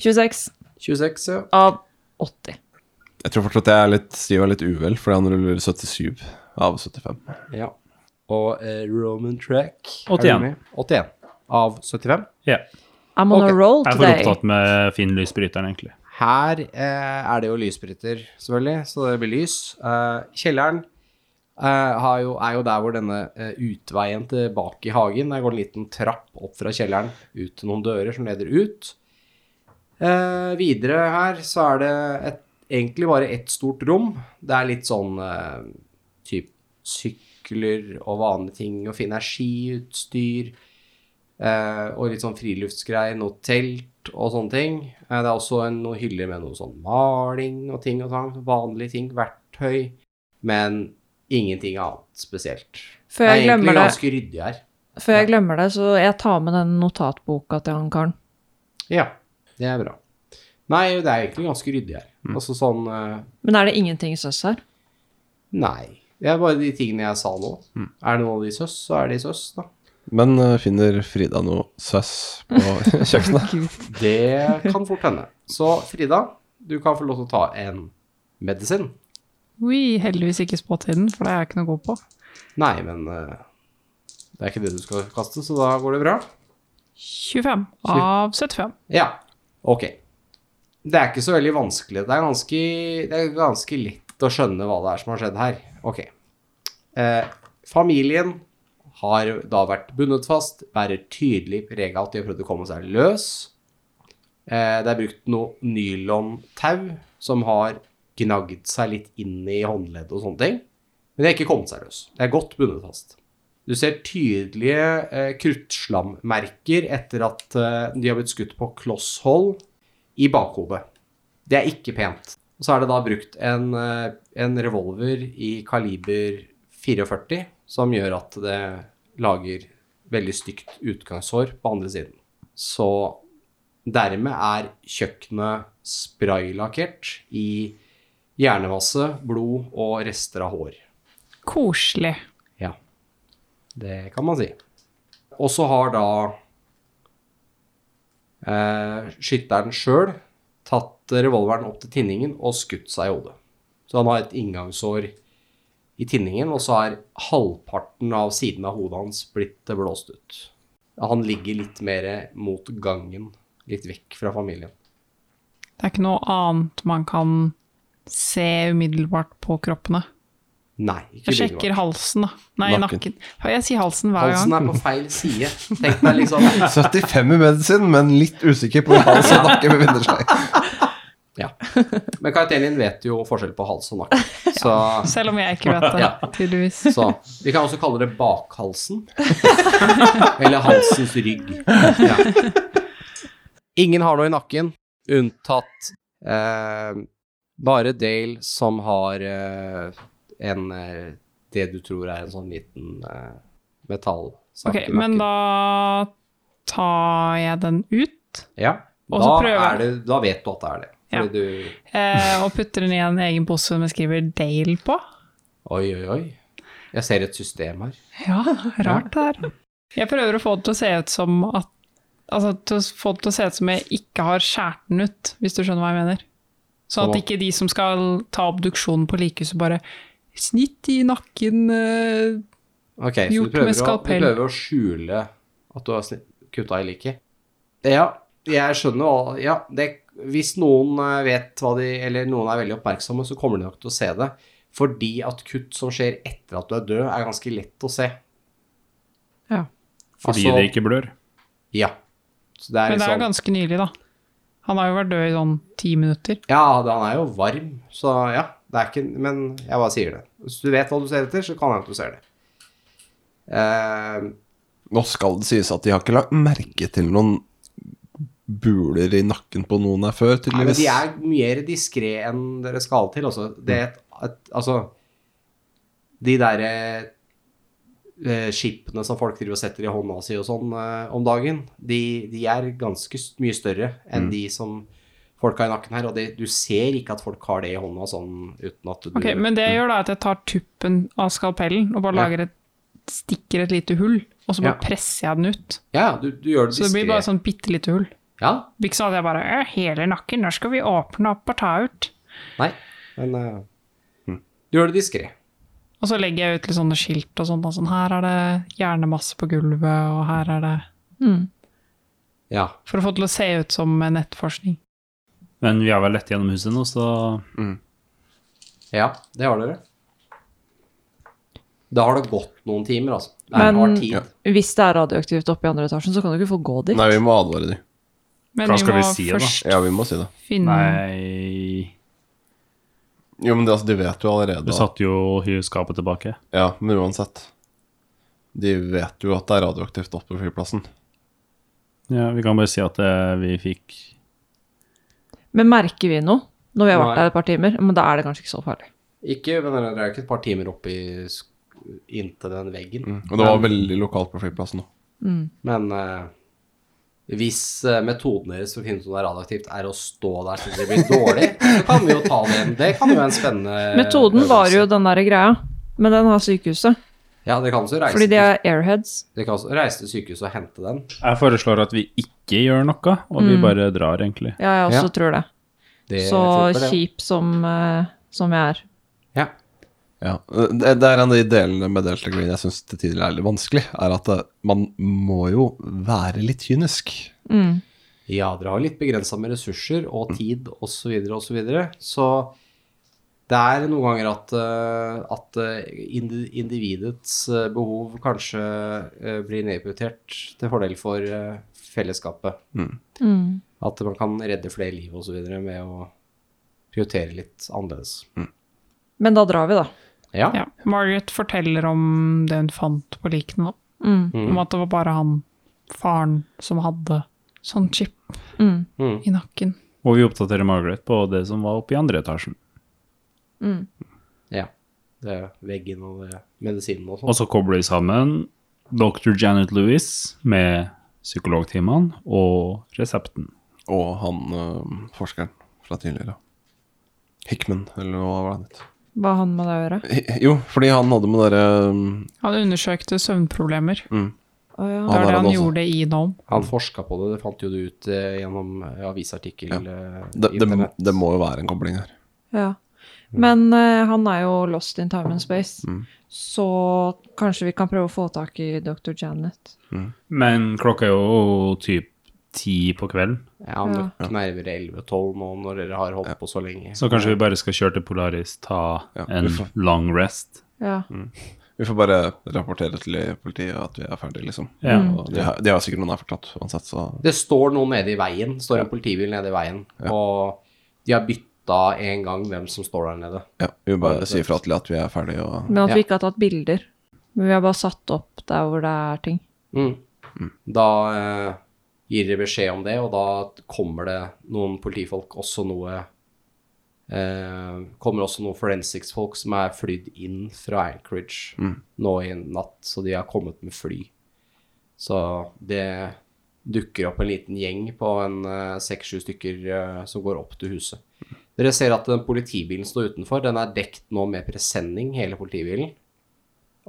[SPEAKER 6] 26
[SPEAKER 1] 26, ja.
[SPEAKER 6] av 80.
[SPEAKER 2] Jeg tror fortsatt jeg er litt stiv og litt uvel, fordi han ruller 77 av 75.
[SPEAKER 1] Ja. Og eh, Roman Track
[SPEAKER 5] 81.
[SPEAKER 1] 81 av 75.
[SPEAKER 5] Ja.
[SPEAKER 6] I'm on
[SPEAKER 1] Ok,
[SPEAKER 6] a roll
[SPEAKER 5] Jeg er for
[SPEAKER 6] today.
[SPEAKER 5] opptatt med Finn lysbryteren, egentlig.
[SPEAKER 1] Her eh, er det jo lysbryter, selvfølgelig, så det blir lys. Eh, kjelleren eh, har jo, er jo der hvor denne eh, utveien tilbake i hagen Der går det en liten trapp opp fra kjelleren ut til noen dører som leder ut. Eh, videre her så er det et, egentlig bare ett stort rom. Det er litt sånn eh, typ sykler og vanlige ting å finne energiutstyr. Eh, og litt sånn friluftsgreier, noe telt og sånne ting. Eh, det er også en, noen hyller med noe sånn maling og ting og sånn. Vanlige ting, verktøy. Men ingenting annet spesielt.
[SPEAKER 6] Før
[SPEAKER 1] det er
[SPEAKER 6] jeg
[SPEAKER 1] egentlig
[SPEAKER 6] glemmer det.
[SPEAKER 1] ganske ryddig her.
[SPEAKER 6] Før jeg glemmer det, så jeg tar med den notatboka til han karen.
[SPEAKER 1] Ja, det er bra. Nei, det er egentlig ganske ryddig her. Altså sånn eh,
[SPEAKER 6] Men er det ingenting søss her?
[SPEAKER 1] Nei. Det er bare de tingene jeg sa nå. Er det noen av de søs, så er de søs, da.
[SPEAKER 2] Men eh, finner Frida noe søss på [laughs] kjøkkenet?
[SPEAKER 1] Det [laughs] kan fort hende. Så Frida, du kan få lov til å ta en medisin.
[SPEAKER 3] Ui, heldigvis ikke spåtiden, for det er jeg ikke noe god på.
[SPEAKER 1] Nei, men eh, det er ikke det du skal kaste, så da går det bra.
[SPEAKER 3] 25 av 75.
[SPEAKER 1] Ja, ok. Det er ikke så veldig vanskelig. Det er ganske, det er ganske lett å skjønne hva det er som har skjedd her. Ok. Eh, familien har da vært bundet fast, bærer tydelig preg av at de har prøvd å komme seg løs. Eh, det er brukt noe nylontau som har gnagd seg litt inn i håndleddet og sånne ting. Men de har ikke kommet seg løs. Det er godt bundet fast. Du ser tydelige eh, kruttslammerker etter at eh, de har blitt skutt på klosshold i bakhodet. Det er ikke pent. Og så er det da brukt en, eh, en revolver i kaliber 44, som gjør at det lager veldig stygt utgangshår på andre siden. Så dermed er kjøkkenet spraylakkert i hjernemasse, blod og rester av hår.
[SPEAKER 3] Koselig.
[SPEAKER 1] Ja, det kan man si. Og så har da eh, skytteren sjøl tatt revolveren opp til tinningen og skutt seg i hodet. Så han har et inngangssår i tinningen, og så er halvparten av siden av hodet hans blitt eh, blåst ut. Han ligger litt mer mot gangen, litt vekk fra familien.
[SPEAKER 3] Det er ikke noe annet man kan se umiddelbart på kroppene.
[SPEAKER 1] Nei, ikke
[SPEAKER 3] Jeg
[SPEAKER 1] umiddelbart.
[SPEAKER 3] sjekker halsen, da. Nei,
[SPEAKER 2] Nakken.
[SPEAKER 3] nakken. Jeg sier halsen hver
[SPEAKER 1] Halsen
[SPEAKER 3] gang.
[SPEAKER 1] er på feil side. Tenk deg liksom
[SPEAKER 2] 75 i medisin, men litt usikker på hva som nakken befinner seg.
[SPEAKER 1] Ja. Men karakteren din vet jo forskjell på hals og nakke,
[SPEAKER 3] [laughs]
[SPEAKER 1] så
[SPEAKER 3] Selv om jeg
[SPEAKER 1] [laughs]
[SPEAKER 3] ikke vet det,
[SPEAKER 1] Ja.
[SPEAKER 3] tydeligvis.
[SPEAKER 1] Så, vi kan også kalle det bakhalsen. Eller halsens rygg. Ja. Ingen har noe i nakken, unntatt eh, bare Dale som har eh, en eh, Det du tror er en sånn liten eh, metallsak
[SPEAKER 3] Ok,
[SPEAKER 1] i nakken.
[SPEAKER 3] men da tar jeg den ut
[SPEAKER 1] ja,
[SPEAKER 3] og
[SPEAKER 1] da,
[SPEAKER 3] så prøver
[SPEAKER 1] er det, da vet du at det er det.
[SPEAKER 3] Ja.
[SPEAKER 1] Fordi du
[SPEAKER 3] eh, og putter den i en egen pose som jeg skriver Dale på.
[SPEAKER 1] Oi, oi, oi. Jeg ser et system her.
[SPEAKER 3] Ja, rart det her. Jeg prøver å få det til å se ut som at Altså til å få det til å se ut som jeg ikke har skåret den ut, hvis du skjønner hva jeg mener. Sånn at
[SPEAKER 1] Sånn.
[SPEAKER 3] ikke de som skal ta obduksjonen på likehuset, bare Snitt i nakken eh,
[SPEAKER 1] Ok, så du
[SPEAKER 3] Gjort
[SPEAKER 1] prøver, å,
[SPEAKER 3] med
[SPEAKER 1] du
[SPEAKER 3] skalpell.
[SPEAKER 1] prøver å skjule at du har sni- kutta i liket? Ja, jeg skjønner hva Ja, det, hvis noen eh, vet hva de Eller noen er veldig oppmerksomme, så kommer de nok til å se det. Fordi at kutt som skjer etter at du er død, er ganske lett å se.
[SPEAKER 3] Ja.
[SPEAKER 5] Fordi
[SPEAKER 1] Altså-
[SPEAKER 5] det ikke blør.
[SPEAKER 1] Ja. Så det er
[SPEAKER 3] Men det er jo
[SPEAKER 1] liksom
[SPEAKER 3] ganske nylig, da. Han har jo vært død i sånn ti minutter.
[SPEAKER 1] Ja, det- han er jo varm, så ja. Det er ikke Men jeg bare sier det. Hvis du vet hva du ser etter, så kan det hende du ser det. Eh,
[SPEAKER 2] Nå skal det sies at de har ikke lagt merke til noen buler i nakken på noen her før,
[SPEAKER 1] Nei, men
[SPEAKER 2] tydeligvis.
[SPEAKER 1] de er mer diskré enn dere skal til. Altså, det er et, et, altså De derre eh, skipene som folk driver og setter i hånda si og sånn eh, om dagen, de, de er ganske s- mye større enn de som folk har i nakken her. Og det, du ser ikke at folk har det i hånda sånn uten at du
[SPEAKER 3] Ok, Men det jeg gjør da at jeg tar tuppen av skalpellen og
[SPEAKER 1] Ja.
[SPEAKER 3] bare lager et, stikker et lite hull, og så bare
[SPEAKER 1] Ja.
[SPEAKER 3] presser jeg den ut.
[SPEAKER 1] Ja, du, du gjør det
[SPEAKER 3] Så det blir
[SPEAKER 1] diskré.
[SPEAKER 3] bare sånn bitte lite hull.
[SPEAKER 1] Ja,
[SPEAKER 3] Det blir ikke sånn at jeg bare «Øh, Hele nakken, når skal vi åpne opp og ta ut?
[SPEAKER 1] nei. Men eh, gjør det diskré.
[SPEAKER 3] Og så legger jeg ut litt sånne skilt og sånt. og Sånn, her er det hjernemasse på gulvet, og her er det
[SPEAKER 6] Mm.
[SPEAKER 1] Ja.
[SPEAKER 3] For å få det til å se ut som nettforskning.
[SPEAKER 5] Men vi har vel lett gjennom huset nå, så
[SPEAKER 1] ja, det har dere. Da har det gått noen timer, altså. Det er
[SPEAKER 6] Men-
[SPEAKER 1] hard tid.
[SPEAKER 2] Ja.
[SPEAKER 6] Hvis det er radioaktivt oppe i andre etasjen, så kan du ikke få gå dit.
[SPEAKER 2] Nei, vi må advare de.
[SPEAKER 3] Men
[SPEAKER 5] Hva
[SPEAKER 3] vi
[SPEAKER 5] skal
[SPEAKER 3] må
[SPEAKER 5] vi si, da?
[SPEAKER 3] først
[SPEAKER 2] Ja, vi må si det.
[SPEAKER 6] Mm.
[SPEAKER 3] finne
[SPEAKER 5] Nei
[SPEAKER 2] Jo, men det, altså, de vet jo allerede. da.
[SPEAKER 5] Du satte jo skapet tilbake.
[SPEAKER 2] Ja, men uansett. De vet jo at det er radioaktivt oppe på flyplassen.
[SPEAKER 5] Ja, vi kan bare si at eh, vi fikk
[SPEAKER 6] Men merker vi noe når vi har vært
[SPEAKER 1] Nei.
[SPEAKER 6] der et par timer? Men da er det kanskje ikke så farlig.
[SPEAKER 1] Ikke, men dere er jo ikke et par timer oppe i sk- inntil den veggen.
[SPEAKER 2] Og det var veldig lokalt på flyplassen nå.
[SPEAKER 1] Men eh, hvis eh, metoden deres for å finne ut om det er radioaktivt, er å stå der til det blir dårlig, så kan vi jo ta det. Det kan jo være en spennende
[SPEAKER 6] Metoden var jo
[SPEAKER 1] øvelse.
[SPEAKER 6] den der greia, men den har sykehuset.
[SPEAKER 1] Ja, dere kan også reise,
[SPEAKER 6] Fordi de er airheads.
[SPEAKER 1] dere kan også reise til sykehuset og hente den.
[SPEAKER 5] Jeg foreslår at vi ikke gjør noe, og vi bare drar, egentlig.
[SPEAKER 6] Ja, jeg også tror det.
[SPEAKER 1] Det
[SPEAKER 6] Så
[SPEAKER 1] funker, det.
[SPEAKER 6] kjip som, eh, som jeg er.
[SPEAKER 1] Ja.
[SPEAKER 2] Ja. Eh, Det, det er en av de delene med Delta Green jeg syns til tider er litt vanskelig, er at eh, man må jo være litt kynisk.
[SPEAKER 1] ja, dere har litt begrensa med ressurser og tid osv. osv. Så, videre, og så, videre. så det er noen ganger at, eh, at eh, indi- individets eh, behov kanskje eh, blir nedprioritert til fordel for eh, fellesskapet.
[SPEAKER 6] Mm.
[SPEAKER 1] At man kan redde flere liv osv. med å prioritere litt annerledes.
[SPEAKER 6] Men da drar vi, da.
[SPEAKER 1] Ja.
[SPEAKER 3] ja. Margaret forteller om det hun fant på likene, da.
[SPEAKER 6] Mm.
[SPEAKER 3] Om at det var bare han, faren, som hadde sånn chip
[SPEAKER 6] Mm.
[SPEAKER 1] Mm.
[SPEAKER 3] i nakken.
[SPEAKER 5] Og vi oppdaterer Margaret på det som var oppe i andre etasjen.
[SPEAKER 1] ja. Det er veggen og det, medisinen og
[SPEAKER 5] Og
[SPEAKER 1] sånn.
[SPEAKER 5] så kobler vi sammen Dr. Janet Lewis med psykologtimene og resepten.
[SPEAKER 2] Og han eh, forskeren fra tidligere. Hickman, eller hva var det han het?
[SPEAKER 6] Hva han med det å gjøre?
[SPEAKER 2] Hi- Jo, fordi han hadde med dere mm,
[SPEAKER 3] Han undersøkte søvnproblemer.
[SPEAKER 6] Å ja.
[SPEAKER 3] Det
[SPEAKER 2] Han
[SPEAKER 3] er
[SPEAKER 2] er
[SPEAKER 3] det
[SPEAKER 2] han
[SPEAKER 3] han
[SPEAKER 2] også.
[SPEAKER 3] gjorde i Nome.
[SPEAKER 1] Han forska på det, det fant jo du ut eh, gjennom eh, avisartikkel eh,
[SPEAKER 2] det, det,
[SPEAKER 1] internett.
[SPEAKER 2] det må jo være en kobling her.
[SPEAKER 6] ja. Men eh, han er jo lost in time and space, så kanskje vi kan prøve å få tak i dr. Janet.
[SPEAKER 5] Men klokka er jo typ ti på kvelden,
[SPEAKER 1] Ja, men det knerver 11-12 nå når dere har holdt på så lenge.
[SPEAKER 5] så kanskje vi bare skal kjøre til Polaris, ta
[SPEAKER 2] Ja,
[SPEAKER 5] en
[SPEAKER 2] vi får-
[SPEAKER 5] long rest.
[SPEAKER 6] Ja.
[SPEAKER 2] Vi får bare rapportere til politiet at vi er ferdige, liksom.
[SPEAKER 5] Ja.
[SPEAKER 2] Og De, har, de har sikkert noen her fortsatt, uansett, så
[SPEAKER 1] Det står noen nede i veien. Det står en politibil nede i veien. Og de har bytta en gang hvem som står der nede.
[SPEAKER 2] ja, vi bare sier fra til at vi er ferdige og
[SPEAKER 6] Men at
[SPEAKER 1] Ja.
[SPEAKER 6] vi ikke har tatt bilder. Men vi har bare satt opp der hvor det er ting.
[SPEAKER 1] Mm. Da eh, gir dere beskjed om det, og da kommer det noen politifolk, også noe eh, Kommer også noen forensics-folk som er flydd inn fra Anchorage nå i natt, så de har kommet med fly. Så det dukker opp en liten gjeng på en seks-sju stykker eh, som går opp til huset. Dere ser at den politibilen står utenfor. Den er dekt nå med presenning, hele politibilen.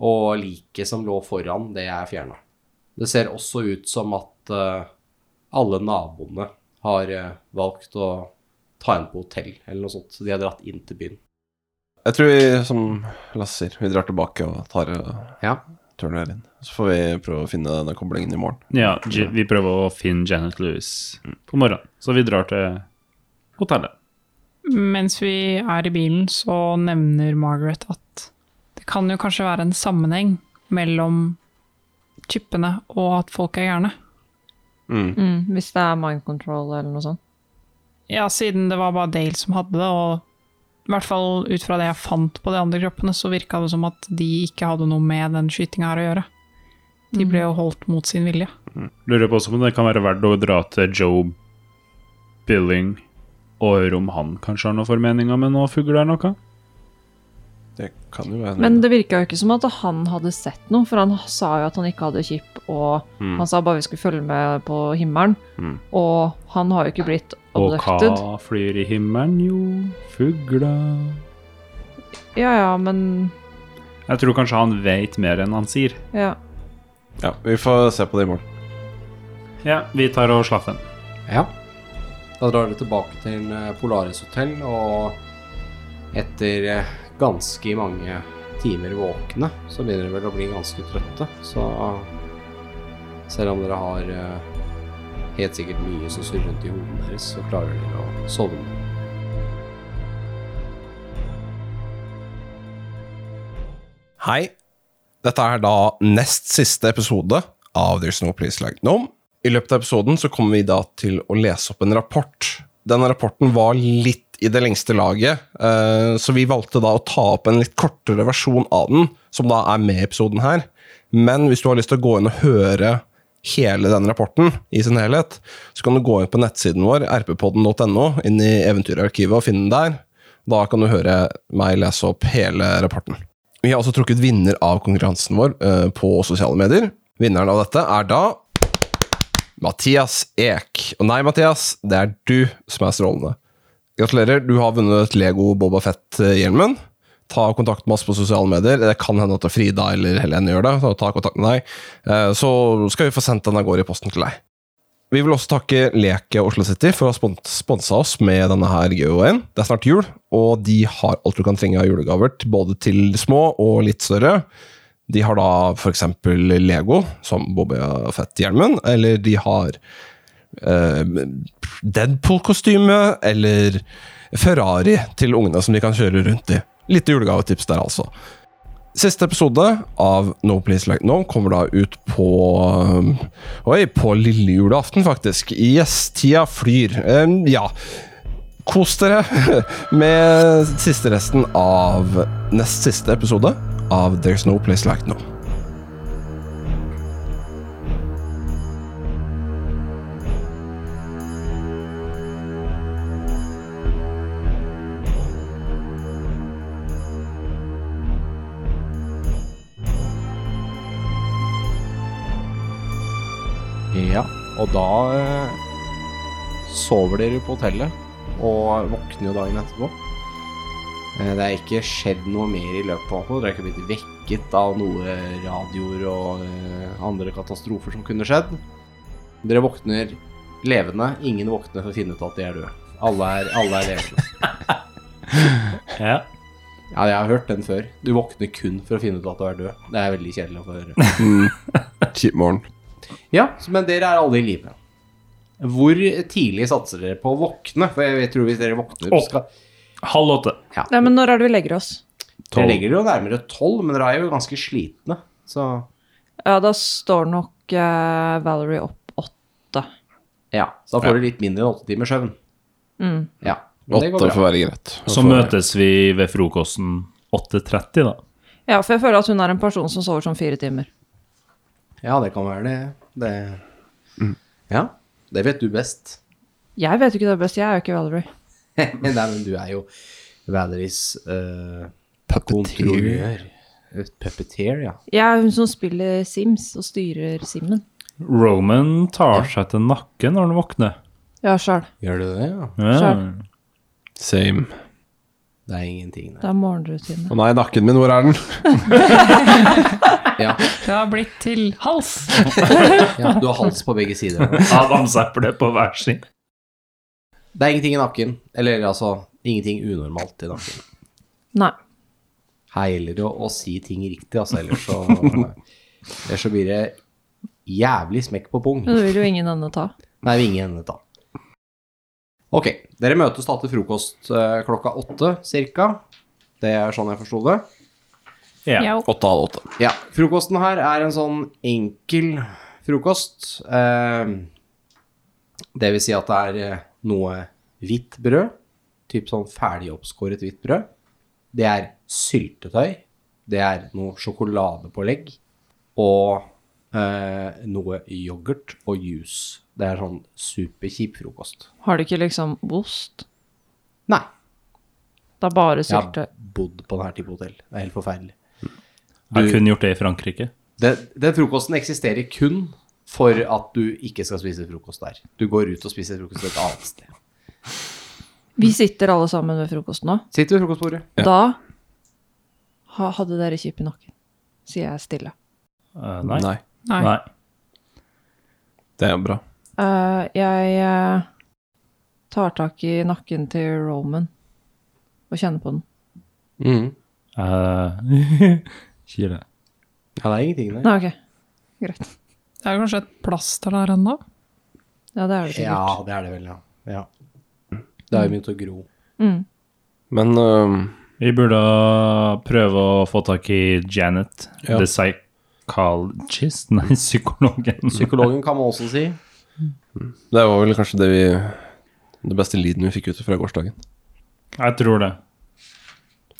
[SPEAKER 1] Og liket som lå foran, det er fjerna. Det ser også ut som at eh, alle naboene har eh, valgt å ta inn på hotell eller noe sånt. Så de har dratt inn til byen.
[SPEAKER 2] Jeg tror vi, som Lasse sier, vi drar tilbake og tar eh,
[SPEAKER 1] Ja.
[SPEAKER 2] turen her inn. Så får vi prøve å finne denne koblingen i morgen.
[SPEAKER 5] Ja, J- vi prøver å finne Janet Lewis på morgenen, så vi drar til hotellet.
[SPEAKER 3] Mens vi er i bilen, så nevner Margaret at det kan jo kanskje være en sammenheng mellom chipene og at folk er gærne.
[SPEAKER 6] Mm, hvis det er mind control eller noe sånt.
[SPEAKER 3] Ja, siden det var bare Dale som hadde det, og i hvert fall ut fra det jeg fant på de andre kroppene, så virka det som at de ikke hadde noe med den skytinga her å gjøre. De ble jo holdt mot sin vilje.
[SPEAKER 5] Lurer på også om det kan være verdt å dra til Joe Billing og høre om han kanskje har noen formeninger med noen fugler eller noe.
[SPEAKER 2] Det kan jo være
[SPEAKER 5] Mm.
[SPEAKER 6] Men det virka jo ikke som at han hadde sett noe, for han sa jo at han ikke hadde chip, og
[SPEAKER 5] Mm.
[SPEAKER 6] han sa bare vi skulle følge med på himmelen, og han har jo ikke blitt
[SPEAKER 5] Og
[SPEAKER 6] abducted.
[SPEAKER 5] hva flyr i himmelen? Jo, fugler
[SPEAKER 6] Ja ja, men
[SPEAKER 5] Jeg tror kanskje han vet mer enn han sier.
[SPEAKER 6] ja.
[SPEAKER 2] Ja, vi får se på det i morgen.
[SPEAKER 5] Ja, vi tar og slapper den.
[SPEAKER 1] Ja. Da drar dere tilbake til eh, Polaris hotell, og Etter eh, ganske mange timer våkne, så begynner dere vel å bli ganske trøtte. Så selv om dere har eh, helt sikkert mye som surrer rundt i hodet deres, så klarer dere å sovne.
[SPEAKER 2] Hei. Dette er da nest siste episode av There's No Place Like Gnome. I løpet av episoden så kommer vi da til å lese opp en rapport. Denne rapporten var litt i det lengste laget, eh, så vi valgte da å ta opp en litt kortere versjon av den, som da er med i episoden her. Men hvis du har lyst til å gå inn og høre hele den rapporten i sin helhet, så kan du gå inn på nettsiden vår, rppodden.no, inn i eventyrarkivet og finne den der. Da kan du høre meg lese opp hele rapporten. Vi har også trukket vinner av konkurransen vår eh, på sosiale medier. Vinneren av dette er da Mathias Ek. Og nei, Mathias, det er du som er strålende. Gratulerer, du har vunnet Lego Boba Fett-hjelmen. Ta kontakt med oss på sosiale medier. Det kan hende at Frida eller Helene gjør det. Så ta kontakt med deg. Eh, Så skal vi få sendt den av gårde i posten til deg. Vi vil også takke Leke Oslo City for å ha spon- sponsa oss med denne her giveawayen. Det er snart jul, og de har alt du kan trenge av julegaver, til- både til små og litt større. De har da f.eks. Lego, som Bobby Fett-hjelmen, eller de har eh, Deadpool-kostyme, eller Ferrari til ungene som de kan kjøre rundt i. Litt julegavetips der, altså. Siste episode av No Place Like No kommer da ut på um, Oi, på lille julaften, faktisk. Yes, tida flyr. Um, ja. Kos dere [laughs] med siste resten av nest siste episode av There's No Place Like [laughs] No.
[SPEAKER 1] Ja, og da eh, sover dere på hotellet og våkner jo dagen etterpå. Eh, Det er ikke skjedd noe mer i løpet av natta. Dere er ikke blitt vekket av noe radioer og eh, andre katastrofer som kunne skjedd. Dere våkner levende. Ingen våkner for å finne ut at de er døde. Alle er, alle er levende.
[SPEAKER 5] Ja.
[SPEAKER 1] Ja, jeg har hørt den før. Du våkner kun for å finne ut at du er død. Det er veldig kjedelig å få høre.
[SPEAKER 2] Kjip morgen.
[SPEAKER 1] Ja, så- men dere er alle i live. Hvor tidlig satser dere på å våkne? For jeg tror hvis dere våkner
[SPEAKER 5] Åh.
[SPEAKER 1] skal,
[SPEAKER 5] Halv åtte.
[SPEAKER 1] ja.
[SPEAKER 6] Nei, men når er det vi legger oss?
[SPEAKER 1] Dere legger dere jo nærmere tolv, men dere er jo ganske slitne. Så
[SPEAKER 6] Ja, da står nok eh, Valerie opp åtte.
[SPEAKER 1] ja, så da får dere litt mindre enn åtte timer søvn.
[SPEAKER 6] Mm.
[SPEAKER 1] Ja, men det går
[SPEAKER 2] Åtte får
[SPEAKER 1] bra.
[SPEAKER 2] være greit.
[SPEAKER 5] Så møtes vi ved frokosten 8.30, da.
[SPEAKER 6] Ja, for jeg føler at hun er en person som sover sånn fire timer.
[SPEAKER 1] Ja, det kan være det. det. Mm. Ja, det vet du best. [laughs]
[SPEAKER 6] Jeg vet jo ikke det best, jeg er jo ikke Valerie.
[SPEAKER 1] Nei, men du er jo Valeries eh, kontrollør. Puppeteer, ja.
[SPEAKER 6] Jeg er hun som spiller Sims og styrer Simen.
[SPEAKER 5] Roman tar seg til nakken når han våkner.
[SPEAKER 6] Ja, sjæl.
[SPEAKER 1] Gjør du det, ja?
[SPEAKER 5] Ja.
[SPEAKER 6] Skjønner.
[SPEAKER 2] Same.
[SPEAKER 1] Det er ingenting,
[SPEAKER 6] Det
[SPEAKER 1] det.
[SPEAKER 6] er morgenrutine.
[SPEAKER 2] Å nei, nakken min, hvor er den?
[SPEAKER 1] Ja,
[SPEAKER 3] Det har blitt til hals.
[SPEAKER 1] ja, du har hals på begge sider.
[SPEAKER 5] Av bamseeplet på hver sin.
[SPEAKER 1] Det er ingenting i nakken. Eller altså, ingenting unormalt i nakken.
[SPEAKER 6] Nei.
[SPEAKER 1] Her gjelder det å, å si ting riktig, altså. Ellers så, [laughs] ellers så blir det jævlig smekk på pung.
[SPEAKER 6] Men det vil jo ingen ende ta.
[SPEAKER 1] Nei, vi ingen ende ta. Ok, dere møtes da til frokost eh, klokka åtte, cirka. Det er sånn jeg forsto det.
[SPEAKER 5] Ja.
[SPEAKER 3] Ja.
[SPEAKER 2] Åtte halv åtte.
[SPEAKER 1] Ja, frokosten her er en sånn enkel frokost. Eh, det vil si at det er eh, noe hvitt brød, typ sånn ferdig oppskåret hvitt brød. Det er syltetøy, det er noe sjokoladepålegg, og eh, noe yoghurt og juice. Det er sånn superkjip frokost.
[SPEAKER 6] Har de ikke liksom ost?
[SPEAKER 1] Nei,
[SPEAKER 6] Det er bare
[SPEAKER 1] jeg har
[SPEAKER 6] sylte.
[SPEAKER 1] bodd på denne type hotell. Det er helt forferdelig.
[SPEAKER 5] Jeg kunne gjort det i Frankrike.
[SPEAKER 1] Den, den frokosten eksisterer kun for at du ikke skal spise frokost der. Du går ut og spiser frokost et annet sted.
[SPEAKER 6] Vi sitter alle sammen ved frokost nå.
[SPEAKER 1] Sitter ved frokostbordet.
[SPEAKER 6] Da ha, hadde dere kjip i nakken, sier jeg stille.
[SPEAKER 5] Eh, nei.
[SPEAKER 2] Nei.
[SPEAKER 3] Nei.
[SPEAKER 5] Nei.
[SPEAKER 2] Det er bra.
[SPEAKER 6] Eh, jeg eh, tar tak i nakken til Roman og kjenner på den.
[SPEAKER 2] Mhm.
[SPEAKER 5] Eh, [laughs] Sier det.
[SPEAKER 1] Ja, det er ingenting der.
[SPEAKER 6] Nei, ok. Greit.
[SPEAKER 3] Det er kanskje et plaster der ennå?
[SPEAKER 6] Ja, det er
[SPEAKER 1] Ja,
[SPEAKER 6] det sikkert.
[SPEAKER 1] det er det vel, ja. ja. Det har jo begynt å gro.
[SPEAKER 6] Mm.
[SPEAKER 2] Men øhm,
[SPEAKER 5] Vi burde prøve å få tak i Janet,
[SPEAKER 2] Ja.
[SPEAKER 5] the psychologist, [laughs] nei, psykologen.
[SPEAKER 1] Psykologen kan man også si.
[SPEAKER 2] det var vel kanskje det vi Det beste lyden vi fikk ut fra gårsdagen.
[SPEAKER 5] [laughs] Jeg tror det.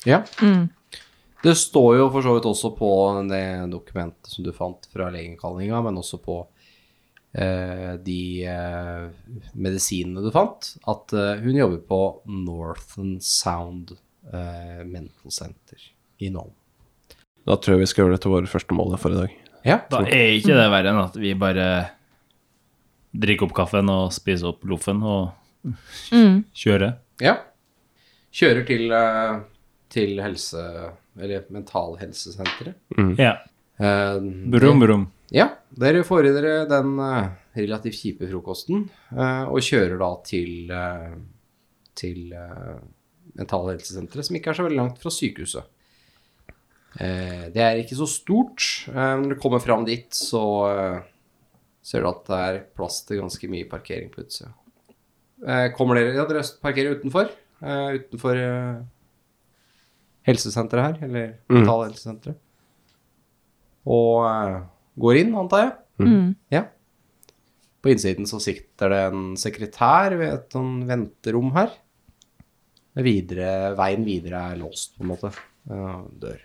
[SPEAKER 1] Ja.
[SPEAKER 6] Mm.
[SPEAKER 1] Det står jo for så vidt også på det dokumentet som du fant fra legekallinga, men også på eh, de eh, medisinene du fant, at eh, hun jobber på Northern Sound eh, Mental Center i Nome.
[SPEAKER 2] Da tror jeg vi skal gjøre det til våre første mål for i dag.
[SPEAKER 1] Ja,
[SPEAKER 5] Da er ikke det verre enn at vi bare drikker opp kaffen og spiser opp loffen og
[SPEAKER 6] Mm,
[SPEAKER 5] kjører.
[SPEAKER 1] Ja. Kjører til, eh, til helse... Eller mentalhelsesenteret.
[SPEAKER 5] Ja.
[SPEAKER 1] Eh,
[SPEAKER 5] Mm. Brum, brum.
[SPEAKER 1] Ja, dere får i dere den eh, relativt kjipe frokosten, eh, og kjører da til, eh, til eh, mentalhelsesenteret, som ikke er så veldig langt fra sykehuset. Eh, det er ikke så stort. Eh, når du kommer fram dit, så eh, ser du at det er plass til ganske mye parkering på utsida. Eh, kommer dere Ja, dere parkerer utenfor. Eh, utenfor eh, helsesenteret her, eller mentalhelsesenteret. Og eh, går inn, antar jeg.
[SPEAKER 6] Mm.
[SPEAKER 1] Ja. På innsiden så sitter det en sekretær ved et sånn venterom her. Det er Videre, veien videre er låst, på en måte. Ja, Dør.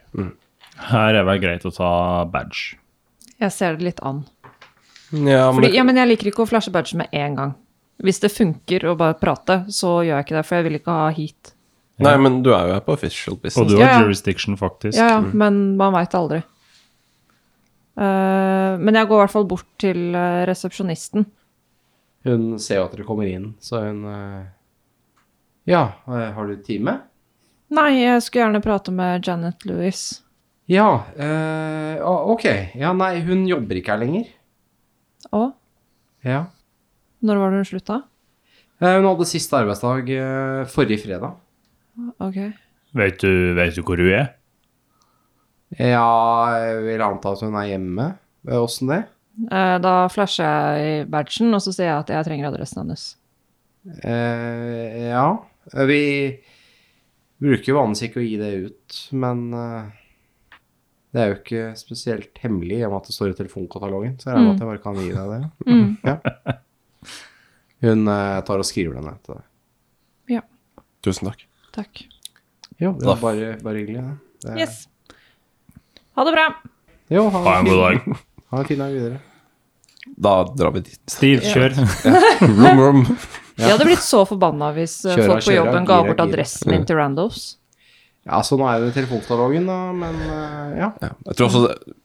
[SPEAKER 5] Her er vel greit å ta badge.
[SPEAKER 6] Jeg ser det litt an.
[SPEAKER 2] Ja, men
[SPEAKER 6] Fordi, ja, men jeg liker ikke å flashe badge med en gang. Hvis det funker å bare prate, så gjør jeg ikke det, for jeg vil ikke ha heat.
[SPEAKER 2] Nei, men du er jo her på official business.
[SPEAKER 5] Og du
[SPEAKER 6] Ja,
[SPEAKER 5] har
[SPEAKER 6] ja.
[SPEAKER 5] jurisdiction, faktisk.
[SPEAKER 6] Ja, ja, men man veit aldri. Eh, men jeg går i hvert fall bort til eh, resepsjonisten.
[SPEAKER 1] Hun ser jo at dere kommer inn, så hun eh, Ja, eh, har du time?
[SPEAKER 6] Nei, jeg skulle gjerne prate med Janet Lewis.
[SPEAKER 1] Ja, eh, å, ok. Ja, nei, hun jobber ikke her lenger.
[SPEAKER 6] Å?
[SPEAKER 1] Ja.
[SPEAKER 6] Når var det hun slutta?
[SPEAKER 1] Eh, Hun hadde siste arbeidsdag eh, forrige fredag.
[SPEAKER 6] Ok.
[SPEAKER 5] Vet, du, vet du hvor du er?
[SPEAKER 1] Ja, jeg vil anta at hun er hjemme. Eh, Åssen det?
[SPEAKER 6] Eh, da flasher jeg i badgen, og så sier jeg at jeg trenger adressen hennes.
[SPEAKER 1] Eh, ja, vi bruker jo vanligvis ikke å gi det ut, men eh, det er jo ikke spesielt hemmelig i og med at det står i telefonkatalogen, så jeg regner med at jeg bare kan gi deg det. Ja. Hun eh, tar og skriver den ned til deg.
[SPEAKER 2] Tusen takk.
[SPEAKER 6] Takk.
[SPEAKER 1] Jo, det var bare, bare hyggelig, det. det. er-
[SPEAKER 6] Yes. Ha det bra.
[SPEAKER 1] Jo, ha,
[SPEAKER 5] Ha en
[SPEAKER 1] fin-
[SPEAKER 5] god
[SPEAKER 6] [laughs]
[SPEAKER 5] dag.
[SPEAKER 1] Ha en fin dag videre.
[SPEAKER 2] Da drar vi dit. [laughs]
[SPEAKER 5] Stiv, kjør.
[SPEAKER 2] Vroom, vroom.
[SPEAKER 6] Jeg hadde blitt så forbanna hvis eh,
[SPEAKER 1] Kjøra,
[SPEAKER 6] folk
[SPEAKER 1] kjøra,
[SPEAKER 6] på jobben ga
[SPEAKER 1] gira,
[SPEAKER 6] bort
[SPEAKER 1] gira.
[SPEAKER 6] adressen min til randos.
[SPEAKER 1] Ja, så nå er det telefonkatalogen, da, men eh, ja.
[SPEAKER 2] Ja. Jeg tror også det,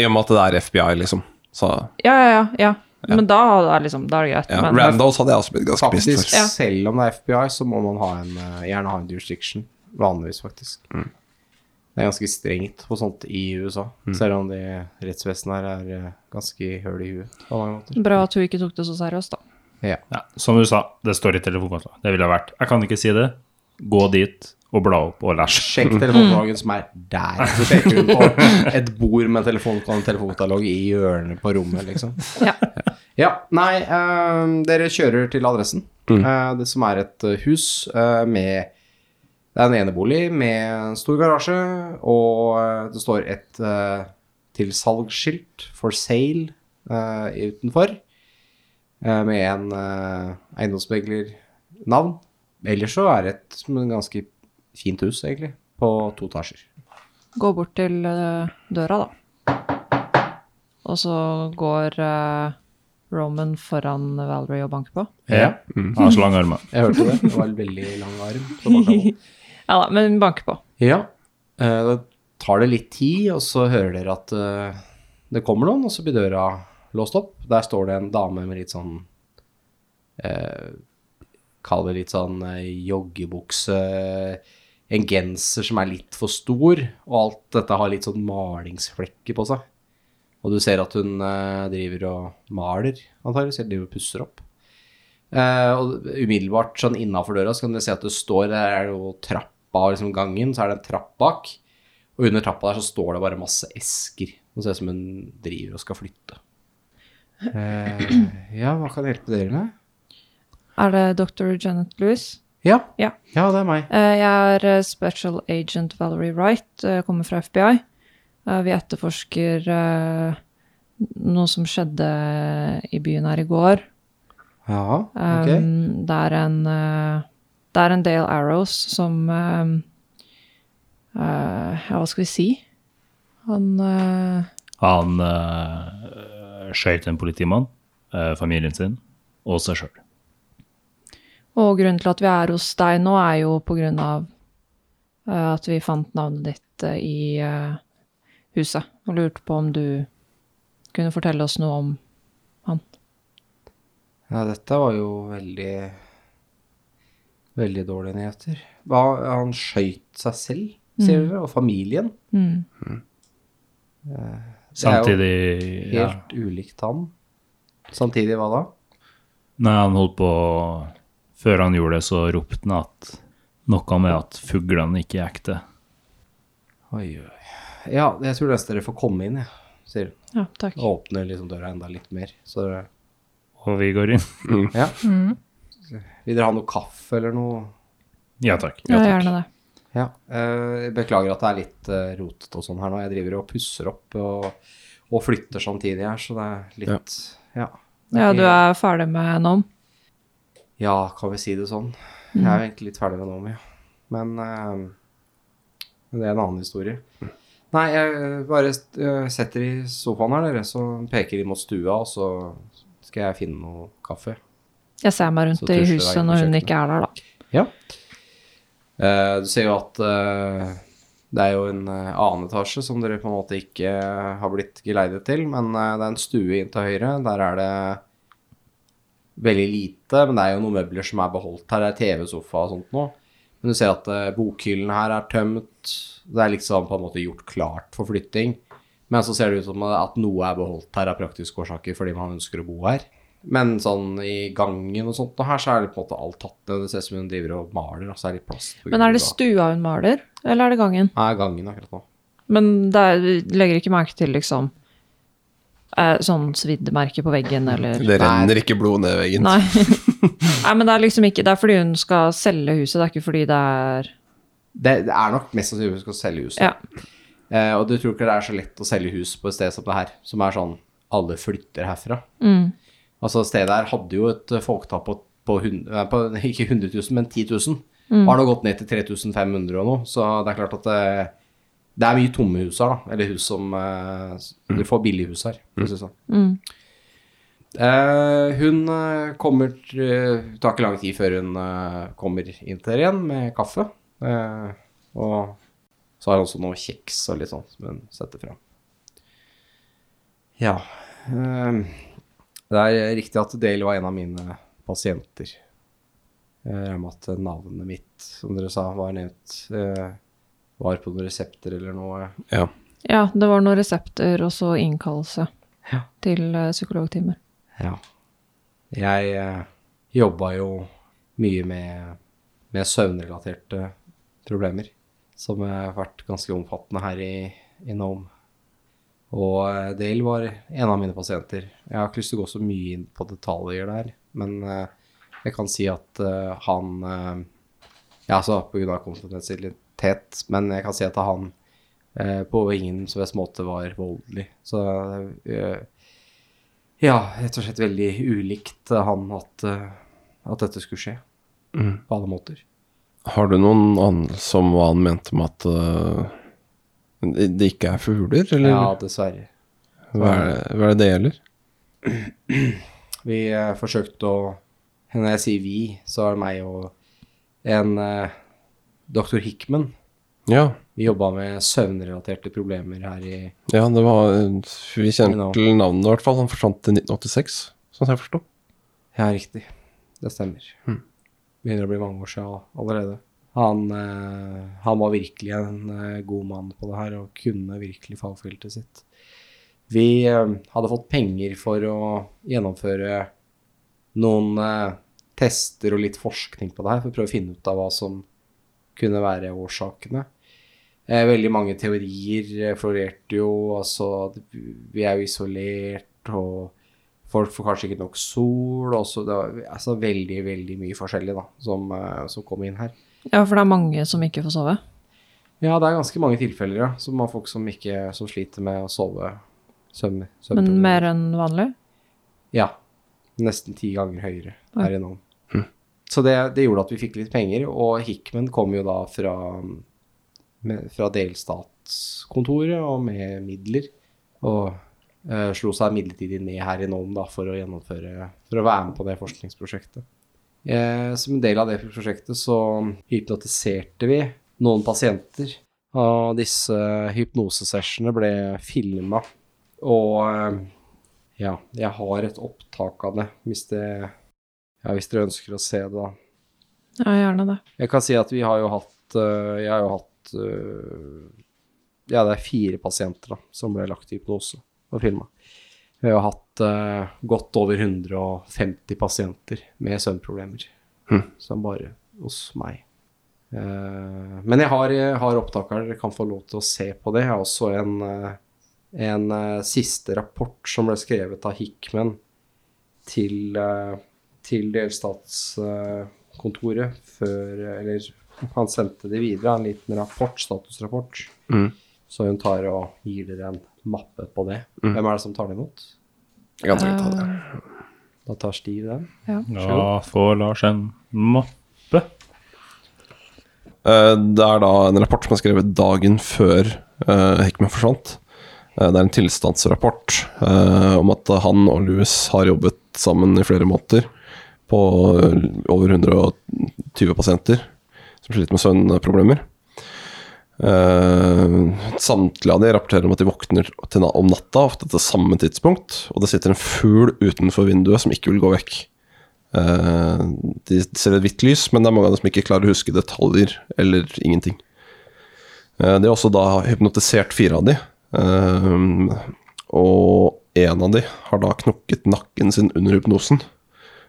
[SPEAKER 2] I og med at det er FBI, liksom, så
[SPEAKER 6] Ja, ja, ja, ja. Men da er det liksom, da er det greit.
[SPEAKER 2] ja.
[SPEAKER 6] Men,
[SPEAKER 2] Randos hadde jeg også blitt ganske pissed
[SPEAKER 1] Faktisk,
[SPEAKER 2] for.
[SPEAKER 6] Ja.
[SPEAKER 1] selv om det er FBI, så må man ha en, eh, gjerne ha en jurisdiction. Vanligvis, faktisk. Det er ganske strengt på sånt i USA, selv om det rettsvesenet her er eh, ganske høl i huet på mange måter.
[SPEAKER 6] Bra at hun ikke tok det så seriøst, da.
[SPEAKER 1] Ja.
[SPEAKER 5] Ja, som du sa, det står i telefonkatalogen. Det ville ha vært. Jeg kan ikke si det. Gå dit og bla opp og læsj.
[SPEAKER 1] Sjekk telefonkatalogen som er der. Så peker hun på et bord med telefon- telefonkatalog i hjørnet på rommet, liksom.
[SPEAKER 6] Ja.
[SPEAKER 1] Ja, nei, eh, dere kjører til adressen. Eh, det som er et eh, hus eh, med Det er en enebolig med en stor garasje, og eh, det står et uh, tilsalgsskilt for sale eh, utenfor. eh, med en uh, eiendomsmegler-navn. Ellers så er det et men ganske fint hus, egentlig, på to etasjer.
[SPEAKER 6] Gå bort til eh, døra, da. Og så går eh, Roman foran Valerie og banker på.
[SPEAKER 5] Ja.
[SPEAKER 7] Mm.
[SPEAKER 5] Han har så lange armer.
[SPEAKER 1] Jeg hørte det. Det var en veldig lang arm. Så bare kom.
[SPEAKER 6] Ja da, men banker på.
[SPEAKER 1] Ja. eh, Da tar det litt tid, og så hører dere at eh, det kommer noen, og så blir døra låst opp. Der står det en dame med litt sånn eh, Kall det litt sånn eh, joggebukse eh, En genser som er litt for stor, og alt dette har litt sånn malingsflekker på seg. Og du ser at hun eh, driver og maler, antakeligvis, eller driver og pusser opp. Eh, og umiddelbart sånn innafor døra så kan dere se at det står der er det jo trapp trappa og liksom gangen, så er det en trapp bak. Og under trappa der så står det bare masse esker. Det ser ut som hun driver og skal flytte. Eh, ja, hva kan jeg hjelpe dere med?
[SPEAKER 6] Er det dr. Janet Lewis?
[SPEAKER 1] Ja.
[SPEAKER 6] Ja.
[SPEAKER 1] ja, det er meg.
[SPEAKER 6] Eh, Jeg er eh, Special Agent Valerie Wright, eh, jeg kommer fra FBI. Eh, Vi etterforsker eh, noe som skjedde i byen her i går.
[SPEAKER 1] Ja,
[SPEAKER 6] Um,
[SPEAKER 1] ok.
[SPEAKER 6] det, er en, eh, det er en Dale Arrows som eh, eh, Ja, hva skal vi si? Han eh,
[SPEAKER 7] Han uh, skjøt en politimann, eh, familien sin og seg sjøl.
[SPEAKER 6] Og grunnen til at vi er hos deg nå, er jo på grunn av eh, at vi fant navnet ditt eh, i eh, huset, og lurte på om du kunne fortelle oss noe om
[SPEAKER 1] Ja, dette var jo veldig Veldig dårlige nyheter. Hva- Han skøyt seg selv, sier
[SPEAKER 6] Mm.
[SPEAKER 1] dere, og familien.
[SPEAKER 7] Samtidig ja.
[SPEAKER 1] Helt ulikt han. Samtidig, hva da?
[SPEAKER 7] Nei, han holdt på Før han gjorde det, så ropte han at noe med at fuglene ikke er ekte.
[SPEAKER 1] Oi, oi. Ja, jeg tror nesten dere får komme inn, jeg, sier hun.
[SPEAKER 6] Ja, takk.
[SPEAKER 1] Og åpner liksom døra enda litt mer. Så dere
[SPEAKER 7] Og vi går inn. [laughs]
[SPEAKER 1] Ja.
[SPEAKER 6] Mm.
[SPEAKER 1] Vil dere ha noe kaffe eller noe?
[SPEAKER 7] Ja takk.
[SPEAKER 6] Ja, gjerne det.
[SPEAKER 1] Ja. eh, beklager at det er litt eh, rotete og sånn her nå. Jeg driver og pusser opp og, og flytter samtidig her, så det er litt Ja. Det
[SPEAKER 6] Ja,
[SPEAKER 1] ikke-
[SPEAKER 6] du er ferdig med NOM?
[SPEAKER 1] Ja, kan vi si det sånn. Jeg
[SPEAKER 6] Mm.
[SPEAKER 1] er jo egentlig litt ferdig med nå, ja. Men eh, men det er en annen historie. Nei, jeg eh, bare st- eh, setter i sofaen her, dere, så peker de mot stua, og så skal jeg finne noe kaffe.
[SPEAKER 6] Jeg ser meg
[SPEAKER 1] Så
[SPEAKER 6] rundt i
[SPEAKER 1] tusler jeg
[SPEAKER 6] huset
[SPEAKER 1] inn på
[SPEAKER 6] når hun
[SPEAKER 1] kjøkkenet.
[SPEAKER 6] ikke er der, da.
[SPEAKER 1] Ja. du ser jo at eh, det er jo en eh, annen etasje som dere på en måte ikke eh, har blitt geleidet til, men eh, det er en stue inn til høyre. Der er det veldig lite, men det er jo noen møbler som er beholdt her. Det er TV-sofa og sånt nå. Men du ser at eh, bokhyllen her er tømt. Det er liksom på en måte gjort klart for flytting. Men så ser det ut som at noe er beholdt her av praktiske årsaker fordi man ønsker å bo her. Men sånn i gangen og sånt og her, så er det på en måte alt tatt ned. Det ser ut som hun driver og maler. Altså er det plast på
[SPEAKER 6] Men er det
[SPEAKER 1] gulvet,
[SPEAKER 6] stua hun maler, eller er det gangen?
[SPEAKER 1] da. Nei, gangen akkurat nå.
[SPEAKER 6] Men det er, vi legger ikke merke til, liksom, eh, sånn sviddemerke på veggen, eller
[SPEAKER 2] Det renner ikke blod ned veggen.
[SPEAKER 6] Nei. Nei, men det er liksom ikke Det er fordi hun skal selge huset, det er ikke fordi det er
[SPEAKER 1] Det, det er nok mest sannsynlig hun skal selge huset.
[SPEAKER 6] Ja.
[SPEAKER 1] Eh, og du tror ikke det er så lett å selge hus på et sted som det her, som er sånn alle flytter herfra. Altså stedet her hadde jo et eh, folketall på, på, hun- eh, på [laughs] ikke 100 000, men 10 000. Har nå gått ned til 3500 og noe, så det er klart at det, det er mye tomme hus her, da. Eller hus som eh, s- Du får billige hus her, for å si det sånn. Eh, hun eh, kommer t- Det tar ikke lang tid før hun eh, kommer inn til dere igjen med kaffe. Eh, og så har hun også noe kjeks og litt sånn som hun setter fram. Ja ehm, Det er riktig at Dale var en av mine pasienter. Jeg regner med at navnet mitt, som dere sa, var nevnt. eh, Var på noen resepter eller noe.
[SPEAKER 2] Ja.
[SPEAKER 6] Ja, det var noen resepter og så innkallelse til eh, psykologtimer.
[SPEAKER 1] Ja. Jeg eh, jobba jo mye med, med søvnrelaterte problemer, som har vært ganske omfattende her i, i Nome. Og eh, Dale var en av mine pasienter. Jeg har ikke lyst til å gå så mye inn på detaljer der, men eh, jeg kan si at eh, han eh, Ja, altså på grunn av konfidensialitet, men jeg kan si at han eh, på ingen som helst måte var voldelig. Så eh, ja, rett og slett veldig ulikt eh, han at, eh, at dette skulle skje. På alle måter.
[SPEAKER 2] Har du noen anelse om hva han mente med at eh, det det ikke er fugler, eller
[SPEAKER 1] Ja, dessverre.
[SPEAKER 2] hva, er det, hva er det det gjelder?
[SPEAKER 1] Vi eh, forsøkte å Når jeg sier vi, så er det meg og en eh, doktor Hickman.
[SPEAKER 2] Ja,
[SPEAKER 1] Vi jobba med søvnrelaterte problemer her i
[SPEAKER 2] ja det var eh, Vi kjenner
[SPEAKER 1] Nå.
[SPEAKER 2] til navnet, i hvert fall. Han forsvant i 1986, sånn jeg forstår.
[SPEAKER 1] Ja, riktig. Det stemmer. Begynner å bli mange år siden allerede. Han, eh, han var virkelig en eh, god mann på det her, og kunne virkelig fagfeltet sitt. Vi eh, hadde fått penger for å gjennomføre noen eh, tester og litt forskning på det her, for å prøve å finne ut av hva som kunne være årsakene. Eh, veldig mange teorier eh, florerte jo. Altså, det- vi er jo isolert, og folk får kanskje ikke nok sol. Og så, det var altså, veldig, veldig mye forskjellig da, som, eh, som kom inn her.
[SPEAKER 6] Ja, for det er mange som ikke får sove.
[SPEAKER 1] Ja, det er ganske mange tilfeller, ja. Som har folk som, ikke, som sliter med å sove søvn.
[SPEAKER 6] Men eh,
[SPEAKER 1] søvnproblemer.
[SPEAKER 6] mer enn vanlig.
[SPEAKER 1] Ja. Nesten ti ganger høyere
[SPEAKER 6] Oi.
[SPEAKER 1] her i Nome. Så det, det gjorde at vi fikk litt penger, og Hickman kom jo da fra, med, fra delstatskontoret og med midler, og eh, slo seg midlertidig ned her i Nome da, for å gjennomføre, for å være med på det forskningsprosjektet. Eh, som en del av det prosjektet så hypnotiserte vi noen pasienter, og disse hypnosesessionene ble filmet, og... eh, ja, jeg har et opptak av det, hvis det Ja, hvis dere ønsker å se det, da.
[SPEAKER 6] Ja, gjerne det.
[SPEAKER 1] Jeg kan si at vi har jo hatt øh, Jeg har jo hatt øh, Ja, det er fire pasienter da, som ble lagt i hypnose og filma. Vi har hatt øh, godt over 150 pasienter med søvnproblemer. Som bare hos meg. Eh, men jeg har, jeg har opptak her, dere kan få lov til å se på det. Jeg har også en, eh, en eh, siste rapport som ble skrevet av Hickman til, eh, til delstatskontoret før Eller han sendte det videre, en liten rapport, statusrapport.
[SPEAKER 2] Mhm.
[SPEAKER 1] Så hun tar og gir dere en mappe på det. Hvem er det som tar det imot?
[SPEAKER 2] Jeg kan ikke ta det.
[SPEAKER 1] Da tar Stiv den.
[SPEAKER 7] Ja, får Lars en mappe.
[SPEAKER 2] Eh, Det er da en rapport som er skrevet dagen før eh, Heckman forsvant. Eh, Det er en tilstandsrapport eh, om at han og Louis har jobbet sammen i flere måneder på eh, over 120 pasienter som sliter med søvnproblemer. Eh, samtlige av de rapporterer om at de våkner til na om natta, ofte til samme tidspunkt, og det sitter en fugl utenfor vinduet som ikke vil gå vekk. Eh, de ser et hvitt lys, men det er mange av dem som ikke klarer å huske detaljer eller ingenting. Eh, de har også da hypnotisert fire av de, eh, og en av de har da knokket nakken sin under hypnosen.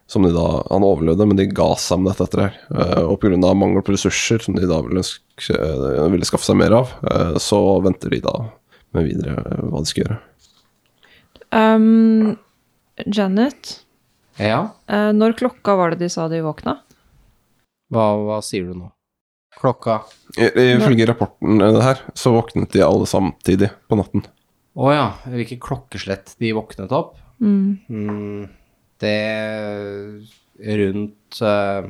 [SPEAKER 2] Som de da, Han overlevde, men de ga seg med dette etter her. Eh, og pga. mangel på ressurser, som de da ville, sk- eh, ville skaffe seg mer av, eh, så venter de da med videre eh, hva de skal gjøre.
[SPEAKER 6] Um, Janet,
[SPEAKER 1] Ja,
[SPEAKER 6] eh, når klokka var det de sa de våkna?
[SPEAKER 1] hva, hva sier du nå? Klokka
[SPEAKER 2] I- Ifølge rapporten eh, her, så våknet de alle samtidig på natten.
[SPEAKER 1] Å ja, hvilket klokkeslett de våknet opp?
[SPEAKER 6] Mm.
[SPEAKER 1] Mm, det rundt eh,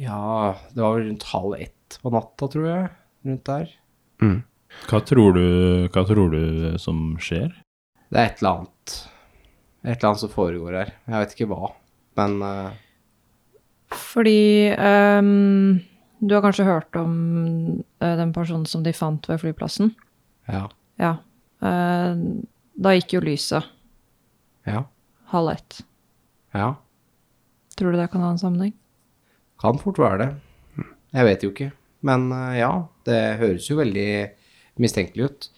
[SPEAKER 1] Ja, det var vel rundt halv ett på natta, tror jeg. Rundt der.
[SPEAKER 7] Hva tror du, hva tror du som skjer?
[SPEAKER 1] Det er et eller annet Et eller annet som foregår her. Jeg vet ikke hva, men eh,
[SPEAKER 6] Fordi ehm, du har kanskje hørt om eh, den personen som de fant ved flyplassen?
[SPEAKER 1] ja.
[SPEAKER 6] Ja. Eh, da gikk jo lyset
[SPEAKER 1] Ja.
[SPEAKER 6] halv ett.
[SPEAKER 1] Ja.
[SPEAKER 6] Tror du det kan ha en sammenheng?
[SPEAKER 1] Kan fort være det. Jeg vet jo ikke. Men eh, ja, det høres jo veldig mistenkelig ut.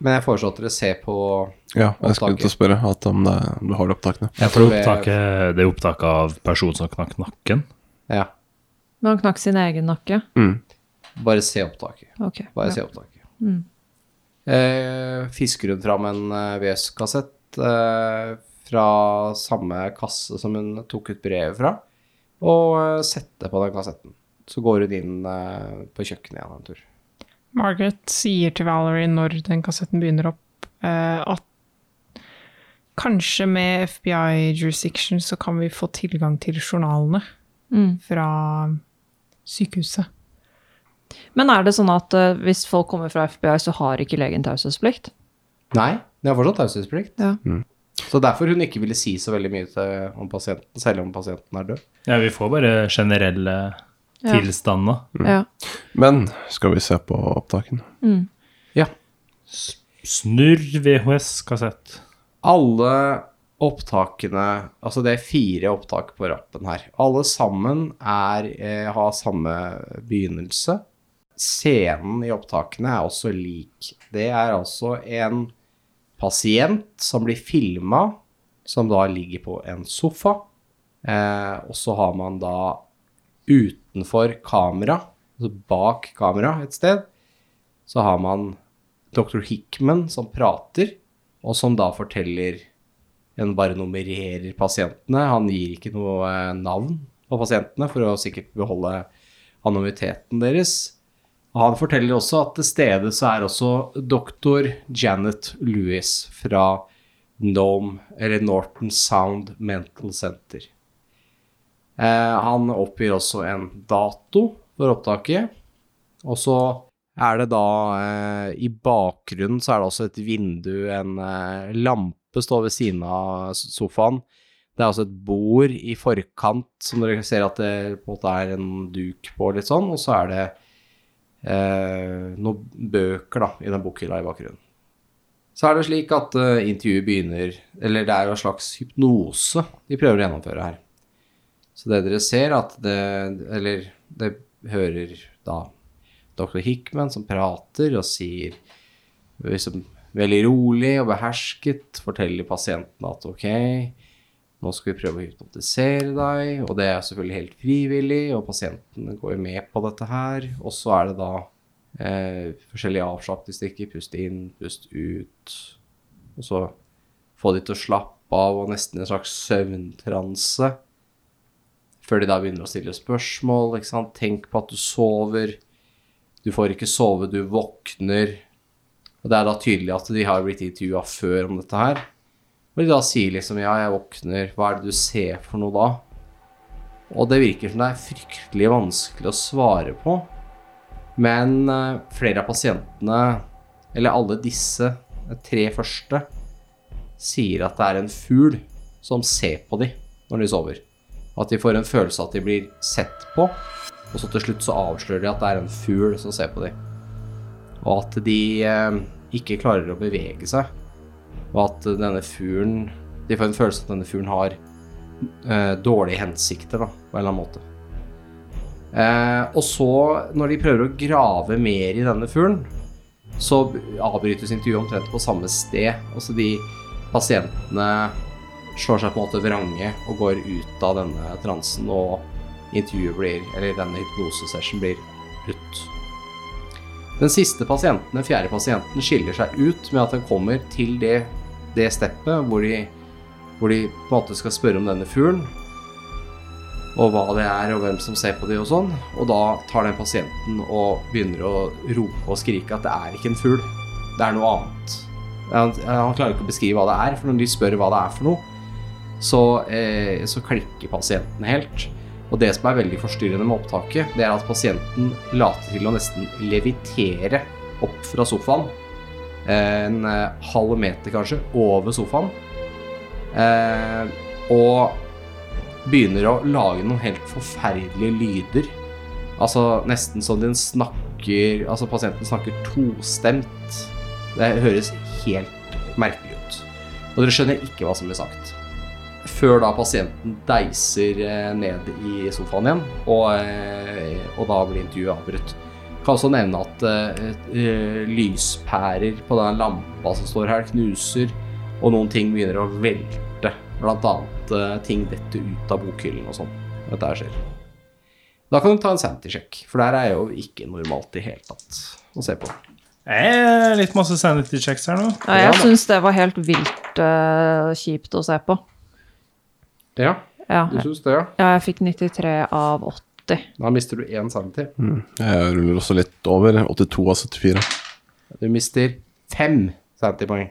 [SPEAKER 1] Men jeg foreslår at dere ser på
[SPEAKER 2] Ja, jeg skulle
[SPEAKER 1] Opptaket.
[SPEAKER 2] til å spørre at om, det, om du har det opptakene.
[SPEAKER 7] Ja, for det er opptaket- det er opptak av personen som knakk nakken.
[SPEAKER 1] Ja,
[SPEAKER 6] Men han knakk sin egen nakke?
[SPEAKER 1] bare se opptaket.
[SPEAKER 6] Ok.
[SPEAKER 1] Bare
[SPEAKER 6] ja.
[SPEAKER 1] se opptaket. Eh, fisker hun fram en eh, VS-kassett eh, fra samme kasse som hun tok ut brevet fra, og eh, setter på den kassetten. Så går hun inn eh, på kjøkkenet igjen en tur.
[SPEAKER 3] Margaret sier til Valerie når den kassetten begynner opp, eh, at kanskje med FBI jurisdiction så kan vi få tilgang til journalene
[SPEAKER 6] Mm.
[SPEAKER 3] fra sykehuset.
[SPEAKER 6] Men er det sånn at eh, hvis folk kommer fra FBI, så har ikke legen taushetsplikt?
[SPEAKER 1] Nei, det er fortsatt taushetsplikt.
[SPEAKER 6] Ja.
[SPEAKER 1] Så derfor hun ikke ville si så veldig mye til, om pasienten, selv om pasienten er død.
[SPEAKER 7] Ja, vi får bare generelle
[SPEAKER 6] Ja.
[SPEAKER 7] tilstander.
[SPEAKER 6] Ja.
[SPEAKER 2] Men skal vi se på opptakene?
[SPEAKER 7] Snurr VHS-kassett.
[SPEAKER 1] Alle opptakene, altså det er fire opptak på rappen her, alle sammen er, eh, har samme begynnelse. Scenen i opptakene er også lik. Det er altså en pasient som blir filma, som da ligger på en sofa. Eh, og så har man da utenfor kamera altså bak kamera et sted, så har man Dr. Hickman som prater, og som da forteller en bare nummererer pasientene. Han gir ikke noe eh, navn på pasientene for å sikkert beholde anonymiteten deres. Og han forteller også at til stede så er også doktor Janet Lewis fra Nome, eller Norton Sound Mental Center. Eh, han oppgir også en dato for opptaket. Og så er det da eh, I bakgrunnen så er det også et vindu, en eh, lampe står ved siden av sofaen. Det er altså et bord i forkant som dere ser at det på en måte er en duk på, litt sånn. Og så er det eh, noen bøker da, i den bokhylla i bakgrunnen. Så er det slik at eh, intervjuet begynner Eller det er jo en slags hypnose de prøver å gjennomføre her. Så det dere ser at det Eller det hører da Dr. Hickman som prater og sier liksom veldig rolig og behersket, forteller pasienten at ok, nå skal vi prøve å hypnotisere deg, og det er selvfølgelig helt frivillig, og pasienten går jo med på dette her, og så er det da eh, forskjellige avslappningsstikker, pust inn, pust ut, og så få de til å slappe av, og nesten en slags søvntranse, før de da begynner å stille spørsmål, ikke sant, tenk på at du sover, du får ikke sove, du våkner, og det er da tydelig at de har blitt intervjua før om dette her, hvor de da sier liksom Ja, jeg våkner. Hva er det du ser for noe da? Og det virker som det er fryktelig vanskelig å svare på. Men eh, flere av pasientene, eller alle disse eh, tre første, sier at det er en fugl som ser på dem når de sover. At de får en følelse av at de blir sett på, og så til slutt så avslører de at det er en fugl som ser på dem. Og at de eh, ikke klarer å bevege seg. Og at denne fuglen De får en følelse av at denne fuglen har eh, dårlige hensikter, da, på en eller annen måte. Eh, og så, når de prøver å grave mer i denne fuglen, så b- avbrytes intervjuet omtrent på samme sted. Altså de pasientene slår seg på en måte vrange og går ut av denne transen, og intervjuet blir, eller denne hypnosesession blir brutt. Den siste pasienten, den fjerde pasienten, skiller seg ut med at den kommer til det, det steppet hvor de, hvor de på en måte skal spørre om denne fuglen, og hva det er, og hvem som ser på de og sånn. Og da tar den pasienten og begynner å rope og skrike at det er ikke en fugl, det er noe annet. Han, han klarer ikke å beskrive hva det er, for når de spør hva det er for noe, så, eh, så klikker pasienten helt. Og det som er veldig forstyrrende med opptaket, det er at pasienten later til å nesten levitere opp fra sofaen. En eh, halv meter, kanskje, over sofaen. Eh, og begynner å lage noen helt forferdelige lyder. Altså nesten som den snakker Altså pasienten snakker tostemt. Det høres helt merkelig ut. Og dere skjønner ikke hva som blir sagt før da pasienten deiser eh, ned i sofaen igjen, og, eh, og da blir intervjuet avbrutt. Kan også nevne at eh, eh, lyspærer på den lampa som står her, knuser, og noen ting begynner å velte. Blant annet eh, ting detter ut av bokhyllen og sånn. Dette her skjer. Da kan du ta en sanity-sjekk, for det her er jo ikke normalt i hele tatt å se på.
[SPEAKER 8] Eh, litt masse sanity checks her nå.
[SPEAKER 6] Ja, jeg syns det var helt vilt eh, kjipt å se på.
[SPEAKER 1] Ja,
[SPEAKER 6] Ja,
[SPEAKER 1] du syns det, ja.
[SPEAKER 6] ja jeg fikk 93 av 80.
[SPEAKER 1] Da mister du én sanity.
[SPEAKER 2] Jeg ruller også litt over. 82 av 74.
[SPEAKER 1] Du mister fem sanity-poeng.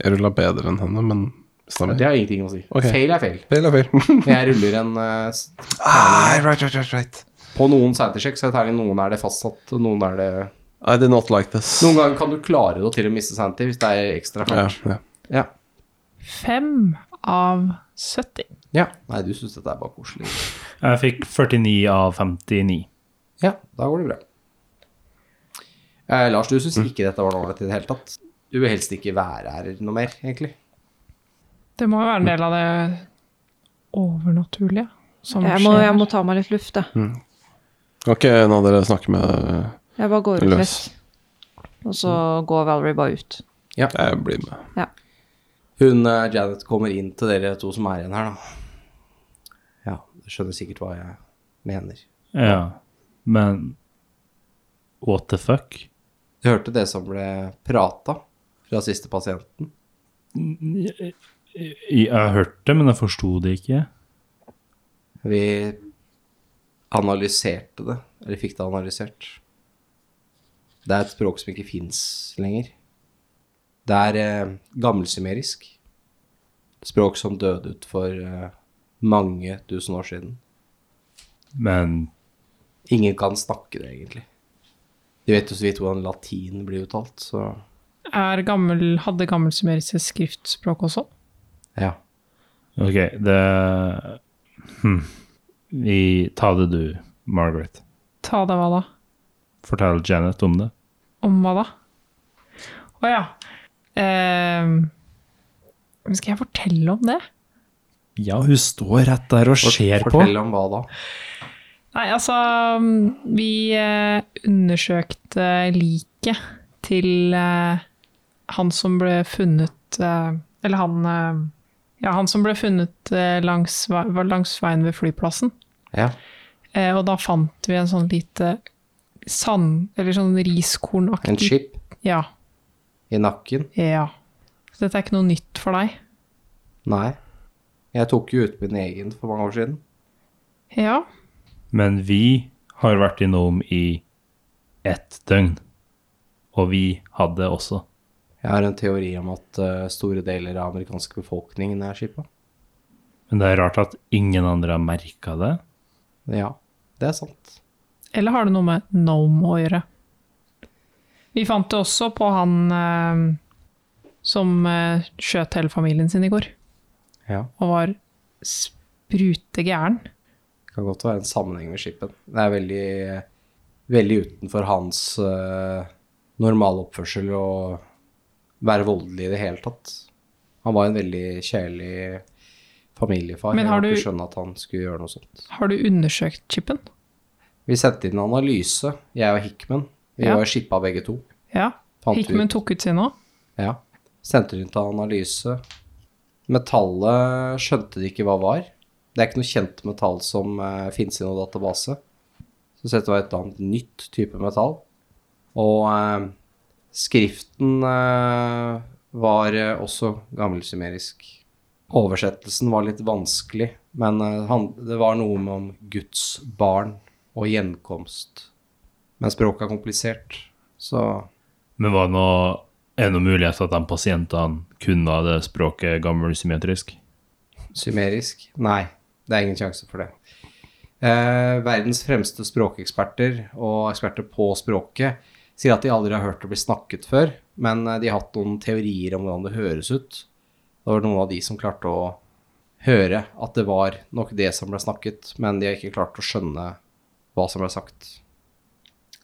[SPEAKER 2] Jeg rulla bedre enn henne, men
[SPEAKER 1] Ja,
[SPEAKER 2] stemmer.
[SPEAKER 1] Det har ingenting å si.
[SPEAKER 2] Ok.
[SPEAKER 1] Feil er feil.
[SPEAKER 2] Feil er feil. [laughs]
[SPEAKER 1] Jeg ruller en eh, s-
[SPEAKER 2] ah, right, right, right, right.
[SPEAKER 1] På noen sanity-sjekk, så er det terningkast. noen er det fastsatt, og noen er det
[SPEAKER 2] I did not like this.
[SPEAKER 1] Noen ganger kan du klare det og til å miste sanity hvis det er ekstra
[SPEAKER 2] ja,
[SPEAKER 1] fælt.
[SPEAKER 2] ja.
[SPEAKER 1] Ja.
[SPEAKER 3] Fem av 70.
[SPEAKER 1] ja. Nei, du syns dette er bare koselig.
[SPEAKER 8] Jeg fikk 49 av 59.
[SPEAKER 1] Ja, da går det bra. Eh, Lars, du syns ikke dette var noe ålreit i det hele tatt? Du vil helst ikke være her noe mer, egentlig.
[SPEAKER 3] Det må jo være en del av det overnaturlige som
[SPEAKER 6] Jeg må, jeg må ta meg litt luft, jeg.
[SPEAKER 2] Kan ikke en av dere snakke med
[SPEAKER 6] Jeg bare går ut litt.
[SPEAKER 2] Løs.
[SPEAKER 6] Og så går Valerie bare ut.
[SPEAKER 2] Jeg blir med.
[SPEAKER 1] Hun eh, Janet kommer inn til dere to som er igjen her, da. Ja, du skjønner sikkert hva jeg mener.
[SPEAKER 7] Ja. Men what the fuck?
[SPEAKER 1] Du hørte det som ble prata fra siste pasienten?
[SPEAKER 7] Jeg har hørt det, men jeg forsto det ikke.
[SPEAKER 1] Vi analyserte det, eller fikk det analysert. Det er et språk som ikke fins lenger. Det er eh, gammelsumerisk. Språk som døde ut for eh, mange tusen år siden.
[SPEAKER 7] Men
[SPEAKER 1] Ingen kan snakke det, egentlig. De vet jo så vidt hvordan latin blir uttalt, så
[SPEAKER 3] Er gammel, hadde gammelsumerisk skriftspråk også?
[SPEAKER 1] ja.
[SPEAKER 7] OK, det hm. Vi Ta det du, Margaret.
[SPEAKER 3] Ta deg hva da?
[SPEAKER 7] Fortell Janet om det.
[SPEAKER 3] Om hva da? Å ja. Ehm, men skal jeg fortelle om det?
[SPEAKER 7] Ja, hun står rett der og ser på.
[SPEAKER 1] Fortell om hva da?
[SPEAKER 3] Nei, altså Vi eh, undersøkte liket til eh, han som ble funnet eh, Eller han eh, Ja, han som ble funnet eh, langs, vei- var langs veien ved flyplassen.
[SPEAKER 1] Ja.
[SPEAKER 3] Eh, og da fant vi en sånn lite sand... Eller sånn
[SPEAKER 1] En
[SPEAKER 3] riskornaktig
[SPEAKER 1] chip
[SPEAKER 3] Ja.
[SPEAKER 1] i nakken?
[SPEAKER 3] ja. Så dette er ikke noe nytt for deg?
[SPEAKER 1] Nei. Jeg tok jo ut min egen for mange år siden.
[SPEAKER 3] Ja.
[SPEAKER 7] Men vi har vært innom i ett døgn. Og vi hadde også.
[SPEAKER 1] Jeg har en teori om at eh, store deler av amerikansk befolkning er skippa.
[SPEAKER 7] Men det er rart at ingen andre har merka det.
[SPEAKER 1] Ja, det er sant.
[SPEAKER 3] Eller har det noe med Nome å gjøre? Vi fant det også på han eh, som eh, skjøt hele familien sin i går,
[SPEAKER 1] Ja.
[SPEAKER 3] og var sprutegæren.
[SPEAKER 1] Det kan godt være en sammenheng med skipen. Det er veldig, veldig utenfor hans uh, normale oppførsel å være voldelig i det hele tatt. Han var en veldig kjærlig familiefar.
[SPEAKER 3] Men
[SPEAKER 1] Jeg kan
[SPEAKER 3] har du-
[SPEAKER 1] ikke skjønne at han skulle gjøre noe sånt.
[SPEAKER 3] Har du undersøkt chipen?
[SPEAKER 1] Vi sendte inn en analyse, jeg og Hickman. Vi
[SPEAKER 3] Ja.
[SPEAKER 1] var skippa begge to.
[SPEAKER 3] Ja.
[SPEAKER 1] Fant vi
[SPEAKER 3] Hickman
[SPEAKER 1] ut.
[SPEAKER 3] tok ut sin òg.
[SPEAKER 1] Ja. Sendte rundt av analyse. Metallet skjønte de ikke hva var. Det er ikke noe kjent metall som eh, finnes i noen database. Så dette var et annet nytt type metall. Og eh, skriften eh, var eh, også gammelsumerisk. Oversettelsen var litt vanskelig, men eh, han, det var noe med om Guds barn og gjenkomst. Men språket er komplisert, så
[SPEAKER 7] Men var det noe, er det noen mulighet for at de pasientene kunne det språket gammelsymmetrisk?
[SPEAKER 1] Sumerisk? Nei, det er ingen sjanse for det. Eh, verdens fremste språkeksperter og eksperter på språket sier at de aldri har hørt det bli snakket før, men eh, de har hatt noen teorier om hvordan det høres ut. Det var noen av de som klarte å høre at det var nok det som ble snakket, men de har ikke klart å skjønne hva som ble sagt.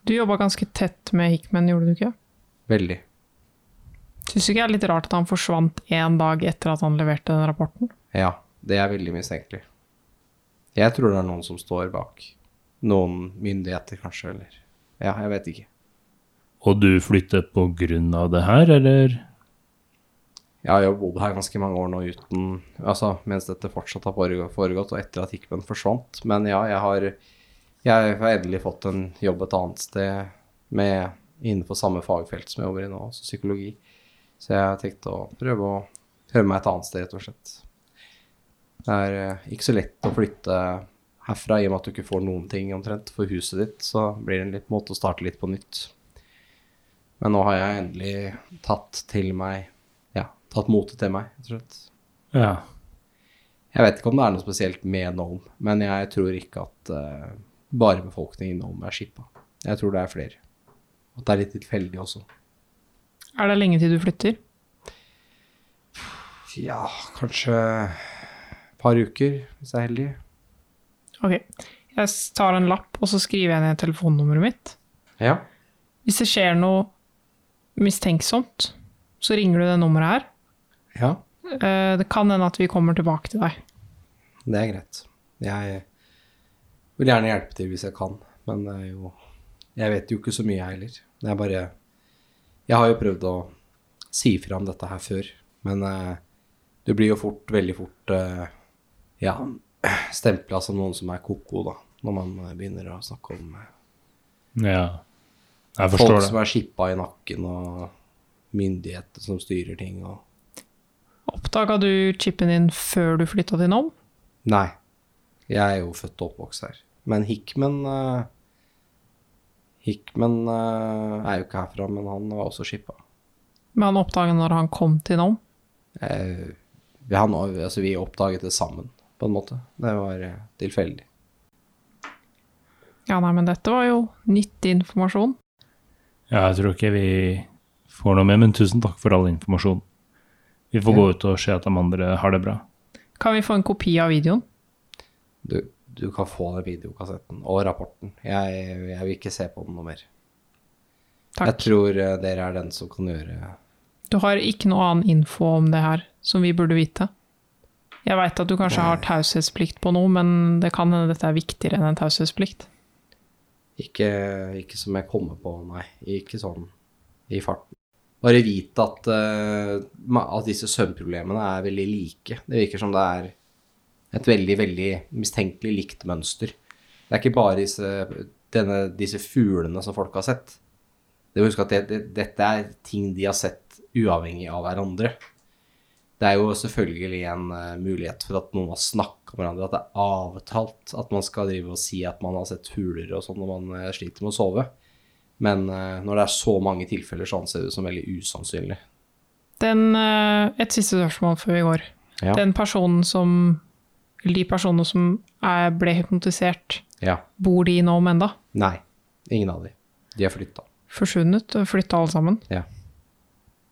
[SPEAKER 3] Du jobba ganske tett med Hickman, gjorde du ikke?
[SPEAKER 1] Veldig.
[SPEAKER 3] Syns du ikke det er litt rart at han forsvant én dag etter at han leverte den rapporten?
[SPEAKER 1] Ja, det er veldig mistenkelig. Jeg tror det er noen som står bak. Noen myndigheter, kanskje, eller Ja, jeg vet ikke.
[SPEAKER 7] Og du flytter på grunn av det her, eller?
[SPEAKER 1] Jeg har jo bodd her ganske mange år nå uten Altså, mens dette fortsatt har foreg- foregått, og etter at Hickman forsvant. Men ja, jeg har Jeg har endelig fått en jobb et annet sted med innenfor samme fagfelt som jeg jobber i nå, altså psykologi. Så jeg har tenkt å prøve å prøve meg et annet sted, rett og slett. Det er eh, ikke så lett å flytte herfra i og med at du ikke får noen ting omtrent for huset ditt, så blir det en litt måte å starte litt på nytt. Men nå har jeg endelig tatt til meg ja, tatt motet til meg, rett og slett.
[SPEAKER 7] Ja.
[SPEAKER 1] Jeg vet ikke om det er noe spesielt med Nome, men jeg tror ikke at eh, bare befolkningen i Nome er skippa. Jeg tror det er flere. At det er litt tilfeldig også.
[SPEAKER 3] Er det lenge til du flytter?
[SPEAKER 1] Ja, kanskje et par uker, hvis jeg er heldig.
[SPEAKER 3] Ok. Jeg tar en lapp, og så skriver jeg ned telefonnummeret mitt.
[SPEAKER 1] Ja.
[SPEAKER 3] Hvis det skjer noe mistenksomt, så ringer du det nummeret her.
[SPEAKER 1] ja.
[SPEAKER 3] Eh, Det kan hende at vi kommer tilbake til deg.
[SPEAKER 1] Det er greit. Jeg vil gjerne hjelpe til hvis jeg kan, men det er jo Jeg vet jo ikke så mye, jeg heller. Det er bare Jeg har jo prøvd å si fra om dette her før, men eh, du blir jo fort, veldig fort eh, Ja, stempla som noen som er ko-ko, da, når man eh, begynner å snakke om eh,
[SPEAKER 7] Ja. Jeg
[SPEAKER 1] Folk
[SPEAKER 7] forstår
[SPEAKER 1] som
[SPEAKER 7] det.
[SPEAKER 1] er skippa i nakken, og myndigheter som styrer ting og
[SPEAKER 3] Oppdaga du chipen din før du flytta til Nome?
[SPEAKER 1] Nei. Jeg er jo født og oppvokst her. Men Hickman eh, Hickman eh, er jo ikke herfra, men han var også skippa.
[SPEAKER 3] Men han oppdaga når han kom til Nome?
[SPEAKER 1] Eh, vi, han, altså, vi oppdaget det sammen, på en måte. Det var eh, tilfeldig.
[SPEAKER 3] Ja, nei, men dette var jo nyttig informasjon.
[SPEAKER 7] Ja, jeg tror ikke vi får noe med, men tusen takk for all informasjon. Vi får gå ut og se at de andre har det bra.
[SPEAKER 3] Kan vi få en kopi av videoen?
[SPEAKER 1] Du, du kan få den videokassetten og rapporten. Jeg, jeg vil ikke se på den noe mer.
[SPEAKER 3] Takk.
[SPEAKER 1] Jeg tror eh, dere er den som kan gjøre
[SPEAKER 3] Du har ikke noe annen info om det her som vi burde vite. Jeg veit at du kanskje har taushetsplikt på noe, men det kan hende dette er viktigere enn en taushetsplikt.
[SPEAKER 1] Ikke, ikke som jeg kommer på, nei. Ikke sånn i farten. Bare vit at, eh, ma- at disse søvnproblemene er veldig like. Det virker som det er et veldig, veldig mistenkelig likt mønster. Det er ikke bare disse, denne, disse fuglene som folk har sett. Det må huske at det, det, dette er ting de har sett uavhengig av hverandre. Det er jo selvfølgelig en eh, mulighet for at noen har snakka med hverandre, at det er avtalt at man skal drive og si at man har sett huler og sånn når man eh, sliter med å sove. Men eh, når det er så mange tilfeller, så anser jeg det som veldig usannsynlig.
[SPEAKER 3] Den, eh, et siste spørsmål før vi går.
[SPEAKER 1] Ja.
[SPEAKER 3] Den personen som eller De personene som er, ble hypnotisert,
[SPEAKER 1] Ja.
[SPEAKER 3] bor de i Nome enda?
[SPEAKER 1] Nei. Ingen av de. De er flytta.
[SPEAKER 3] Forsvunnet? Flytta alle sammen?
[SPEAKER 1] Ja.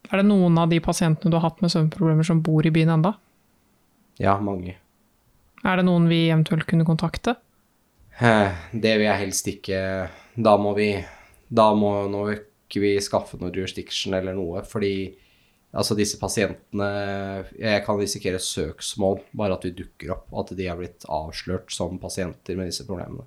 [SPEAKER 3] Er det noen av de pasientene du har hatt med søvnproblemer som bor i byen enda?
[SPEAKER 1] Ja, mange.
[SPEAKER 3] Er det noen vi eventuelt kunne kontakte?
[SPEAKER 1] Eh, Det vil jeg helst ikke Da må vi Da må nå ikke vi skaffe noe jurisdiction eller noe, fordi altså disse pasientene Jeg kan risikere søksmål bare at vi dukker opp, at de har blitt avslørt som pasienter med disse problemene.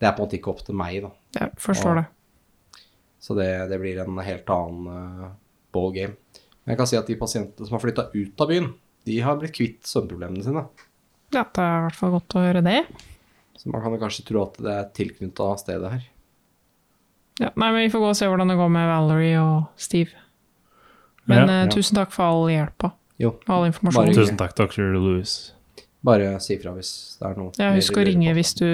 [SPEAKER 1] Det er på en måte ikke opp til meg, da.
[SPEAKER 3] Jeg forstår
[SPEAKER 1] Ja.
[SPEAKER 3] det.
[SPEAKER 1] Så det, det blir en helt annen uh, ballgame. Men jeg kan si at de pasientene som har flytta ut av byen, de har blitt kvitt søvnproblemene sine.
[SPEAKER 3] Ja, det er i hvert fall godt å høre det.
[SPEAKER 1] Så man kan jo kanskje tro at det er tilknytta stedet her.
[SPEAKER 3] Ja, nei, men Vi får gå og se hvordan det går med Valerie og Steve. Men eh, tusen takk for all hjelpa
[SPEAKER 1] Jo,
[SPEAKER 3] og all informasjonen.
[SPEAKER 1] Bare-
[SPEAKER 7] Tusen takk, dr. Louis.
[SPEAKER 1] bare si ifra hvis det er noe.
[SPEAKER 3] Ja,
[SPEAKER 1] mer
[SPEAKER 3] husk å
[SPEAKER 1] dere lurer
[SPEAKER 3] ringe
[SPEAKER 1] på.
[SPEAKER 3] hvis du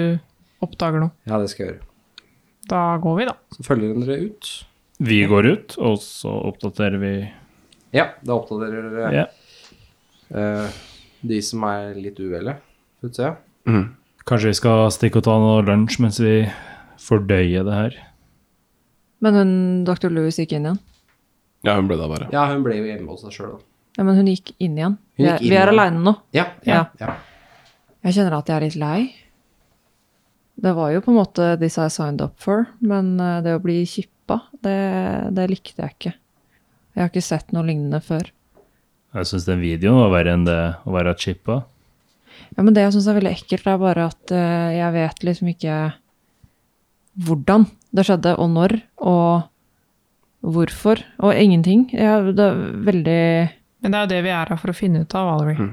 [SPEAKER 3] oppdager noe.
[SPEAKER 1] Ja, det skal jeg gjøre.
[SPEAKER 3] Da går vi, da.
[SPEAKER 1] Så følger dere ut.
[SPEAKER 7] Vi går ut, og så oppdaterer vi
[SPEAKER 1] Ja, da oppdaterer dere
[SPEAKER 7] Ja.
[SPEAKER 1] eh, de som er litt uheldige. Får vi se.
[SPEAKER 7] Kanskje vi skal stikke og ta noe lunsj mens vi fordøyer det her.
[SPEAKER 6] Men hun, dr. Louis gikk inn igjen.
[SPEAKER 2] Ja, hun ble der bare.
[SPEAKER 1] Ja, hun ble jo hjemme hos seg sjøl, da.
[SPEAKER 6] Ja, men hun gikk inn igjen.
[SPEAKER 1] Hun
[SPEAKER 6] Vi
[SPEAKER 1] gikk
[SPEAKER 6] er,
[SPEAKER 1] inn
[SPEAKER 6] vi er
[SPEAKER 1] igjen.
[SPEAKER 6] aleine nå.
[SPEAKER 1] Ja, ja, ja.
[SPEAKER 6] Jeg kjenner at jeg er litt lei. Det var jo på en måte disse jeg signed up for, men eh, det å bli kippa, det, det likte jeg ikke. Jeg har ikke sett noe lignende før.
[SPEAKER 7] Jeg syns den videoen var verre enn det å være chippa.
[SPEAKER 6] Ja, men det jeg syns er veldig ekkelt, er bare at eh, jeg vet liksom ikke hvordan det skjedde, og når, og hvorfor, og ingenting. Jeg, det er veldig
[SPEAKER 3] Men det er jo det vi er her for å finne ut av, Valerie.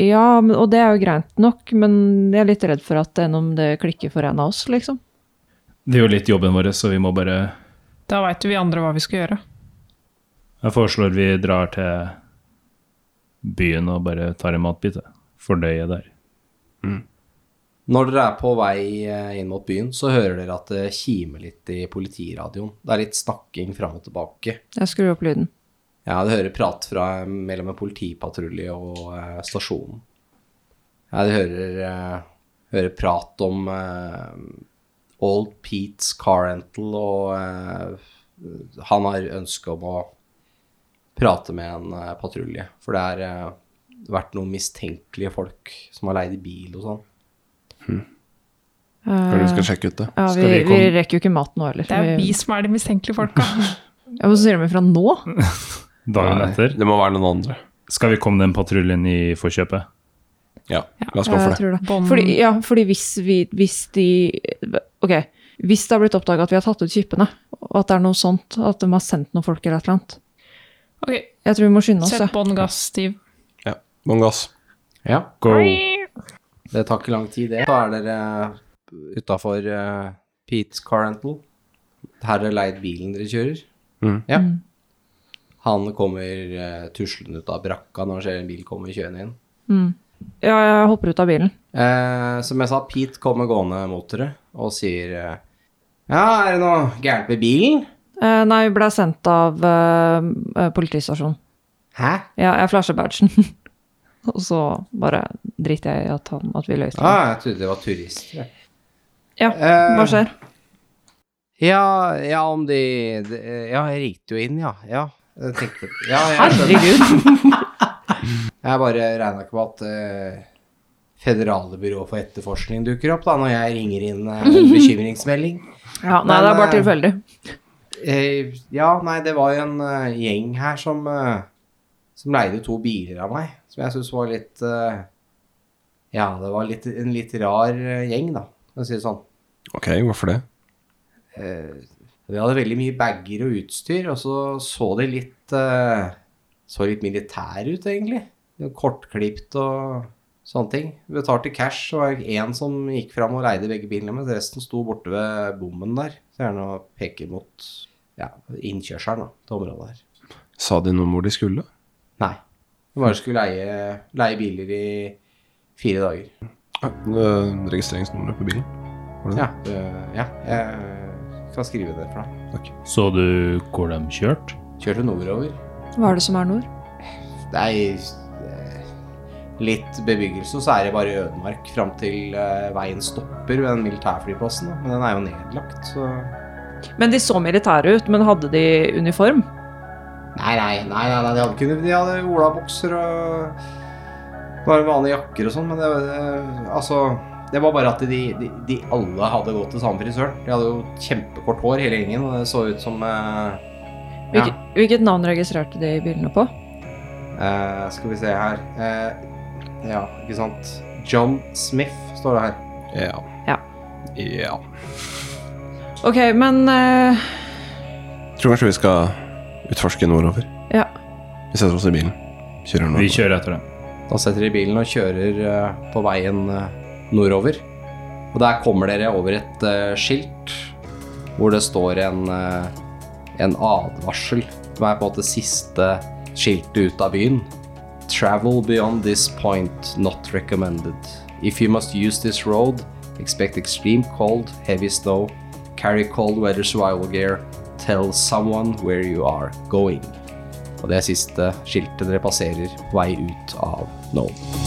[SPEAKER 6] Ja, men, og det er jo greit nok, men jeg er litt redd for at enn om det klikker for en av oss, liksom.
[SPEAKER 7] Det er jo litt jobben vår, så vi må bare
[SPEAKER 3] Da veit vi andre hva vi skal gjøre.
[SPEAKER 7] Jeg foreslår vi drar til byen og bare tar en matbit. jeg. Fordøye der.
[SPEAKER 1] Når dere er på vei eh, inn mot byen, så hører dere at det kimer litt i politiradioen. Det er litt snakking fram og tilbake.
[SPEAKER 6] Jeg skrur opp lyden.
[SPEAKER 1] Ja, du hører prat fra mellom en politipatrulje og eh, stasjonen. Ja, du hører, eh, hører prat om eh, Old Pete's Car Rental, og eh, han har ønske om å prate med en eh, patrulje. For det har eh, vært noen mistenkelige folk som har leid bil og sånn.
[SPEAKER 2] Kanskje vi skal sjekke ut det.
[SPEAKER 6] Eh, Ja, vi,
[SPEAKER 7] Skal vi
[SPEAKER 6] vi
[SPEAKER 7] komme-
[SPEAKER 6] rekker jo ikke mat nå heller.
[SPEAKER 3] Det er vi
[SPEAKER 6] vi,
[SPEAKER 3] som er de mistenkelige folka.
[SPEAKER 6] ja, men så sier de ifra nå.
[SPEAKER 7] Dagen
[SPEAKER 2] Nei,
[SPEAKER 7] etter.
[SPEAKER 2] Det må være noen andre.
[SPEAKER 7] Skal vi komme den patruljen i forkjøpet?
[SPEAKER 2] Ja, la oss
[SPEAKER 6] Ja,
[SPEAKER 2] gå
[SPEAKER 6] jeg
[SPEAKER 2] for det.
[SPEAKER 6] tror det.
[SPEAKER 3] Bånd-
[SPEAKER 6] Fordi, ja, fordi hvis, vi, hvis de Ok, hvis det har blitt oppdaga at vi har tatt ut chipene, og at det er noe sånt, at de har sendt noen folk eller et eller annet
[SPEAKER 3] Ok,
[SPEAKER 6] Jeg tror vi må skynde oss.
[SPEAKER 3] Sett
[SPEAKER 6] Ja.
[SPEAKER 3] bånn gass, Steve.
[SPEAKER 2] Ja. Mange gass.
[SPEAKER 1] Ja.
[SPEAKER 7] Go!
[SPEAKER 1] eh, Det tar ikke lang tid, det. Da er dere utafor Pete Carrental. Herre leid bilen dere kjører.
[SPEAKER 2] Mm.
[SPEAKER 1] Ja. Han kommer eh, tuslende ut av brakka når han ser en bil komme kjørende inn.
[SPEAKER 6] Ja, jeg hopper ut av bilen.
[SPEAKER 1] Eh, som jeg sa, Pete kommer gående mot dere og sier eh, Ja, er det noe gærent med bilen?
[SPEAKER 6] Eh, nei, vi ble sendt av eh, politistasjonen.
[SPEAKER 1] Hæ?
[SPEAKER 6] Ja, jeg flasher badgen. [laughs] og så bare driter jeg i at, han, at vi løy til
[SPEAKER 1] Ja,
[SPEAKER 6] ham.
[SPEAKER 1] jeg trodde det var turister. jeg.
[SPEAKER 6] Ja,
[SPEAKER 1] Ah, eh,
[SPEAKER 6] hva skjer?
[SPEAKER 1] Ja, ja, om de, de Ja, jeg ringte jo inn, ja. Ja, jeg tenkte ja, jeg, skjønner.
[SPEAKER 6] Herregud!
[SPEAKER 1] [laughs] jeg bare regna ikke på at eh, Federale byrå for etterforskning dukker opp da, når jeg ringer inn eh, en bekymringsmelding.
[SPEAKER 6] Ja, nei, det er bare
[SPEAKER 1] Men,
[SPEAKER 6] tilfeldig.
[SPEAKER 1] Eh, ja, nei, det var jo en eh, gjeng her som, eh, som leide to biler av meg, som jeg syntes var litt eh, Ja, det var litt, en litt rar eh, gjeng, da, for å si det sånn.
[SPEAKER 2] Ok, hvorfor det?
[SPEAKER 1] De hadde veldig mye bager og utstyr, og så så de litt eh, Så litt militære ut, egentlig. De var Kortklipt og sånne ting. Betalte cash, og var det én som gikk fram og leide begge bilene, mens resten sto borte ved bommen der. Så gjerne å peke mot ja, innkjørselen da, til området her.
[SPEAKER 2] Sa de noe om hvor de skulle?
[SPEAKER 1] Nei. De bare skulle leie, leie biler i fire dager.
[SPEAKER 2] Ja, øh, Registreringsnummeret på bilen? Var det det?
[SPEAKER 1] Ja, eh, ja jeg kan skrive det for deg.
[SPEAKER 7] Så du hvor de kjørte?
[SPEAKER 1] Kjørte nordover.
[SPEAKER 6] Hva er det som er nord?
[SPEAKER 1] Det er eh, litt bebyggelse, og så er det bare ødemark fram til eh, veien stopper ved den militærflyplassen. Da. Men den er jo nedlagt, så
[SPEAKER 6] Men de så militære ut, men hadde de uniform?
[SPEAKER 1] Nei, nei, nei, nei, nei de hadde ikke De hadde olabukser og bare vanlige jakker og sånn, men det, det Altså det var bare at de, de, de alle hadde gått til samme frisøren. De hadde jo kjempekort hår, hele gjengen, og det så ut som eh, ja.
[SPEAKER 6] Hvilket, hvilket navn registrerte de bilene på?
[SPEAKER 1] Eh, Skal vi se her Eh, Ja, ikke sant. John Smith står det her.
[SPEAKER 2] Ja.
[SPEAKER 6] Ja.
[SPEAKER 2] ja.
[SPEAKER 6] Ok, men eh,
[SPEAKER 2] Tror kanskje vi skal utforske nordover.
[SPEAKER 6] Ja.
[SPEAKER 2] Vi setter oss i bilen. Kjører
[SPEAKER 7] Vi
[SPEAKER 2] nordover.
[SPEAKER 7] kjører etter dem.
[SPEAKER 1] Da setter de bilen og kjører eh, på veien eh, nordover. Og der kommer dere over et eh, skilt hvor det står en, eh, en advarsel. Som er på en måte siste skiltet ut av byen. Travel beyond this point not recommended. If you must use this road, expect extreme cold, heavy snow, carry cold weather survival gear, tell someone where you are going. Og det er siste skiltet dere passerer på vei ut av Nome.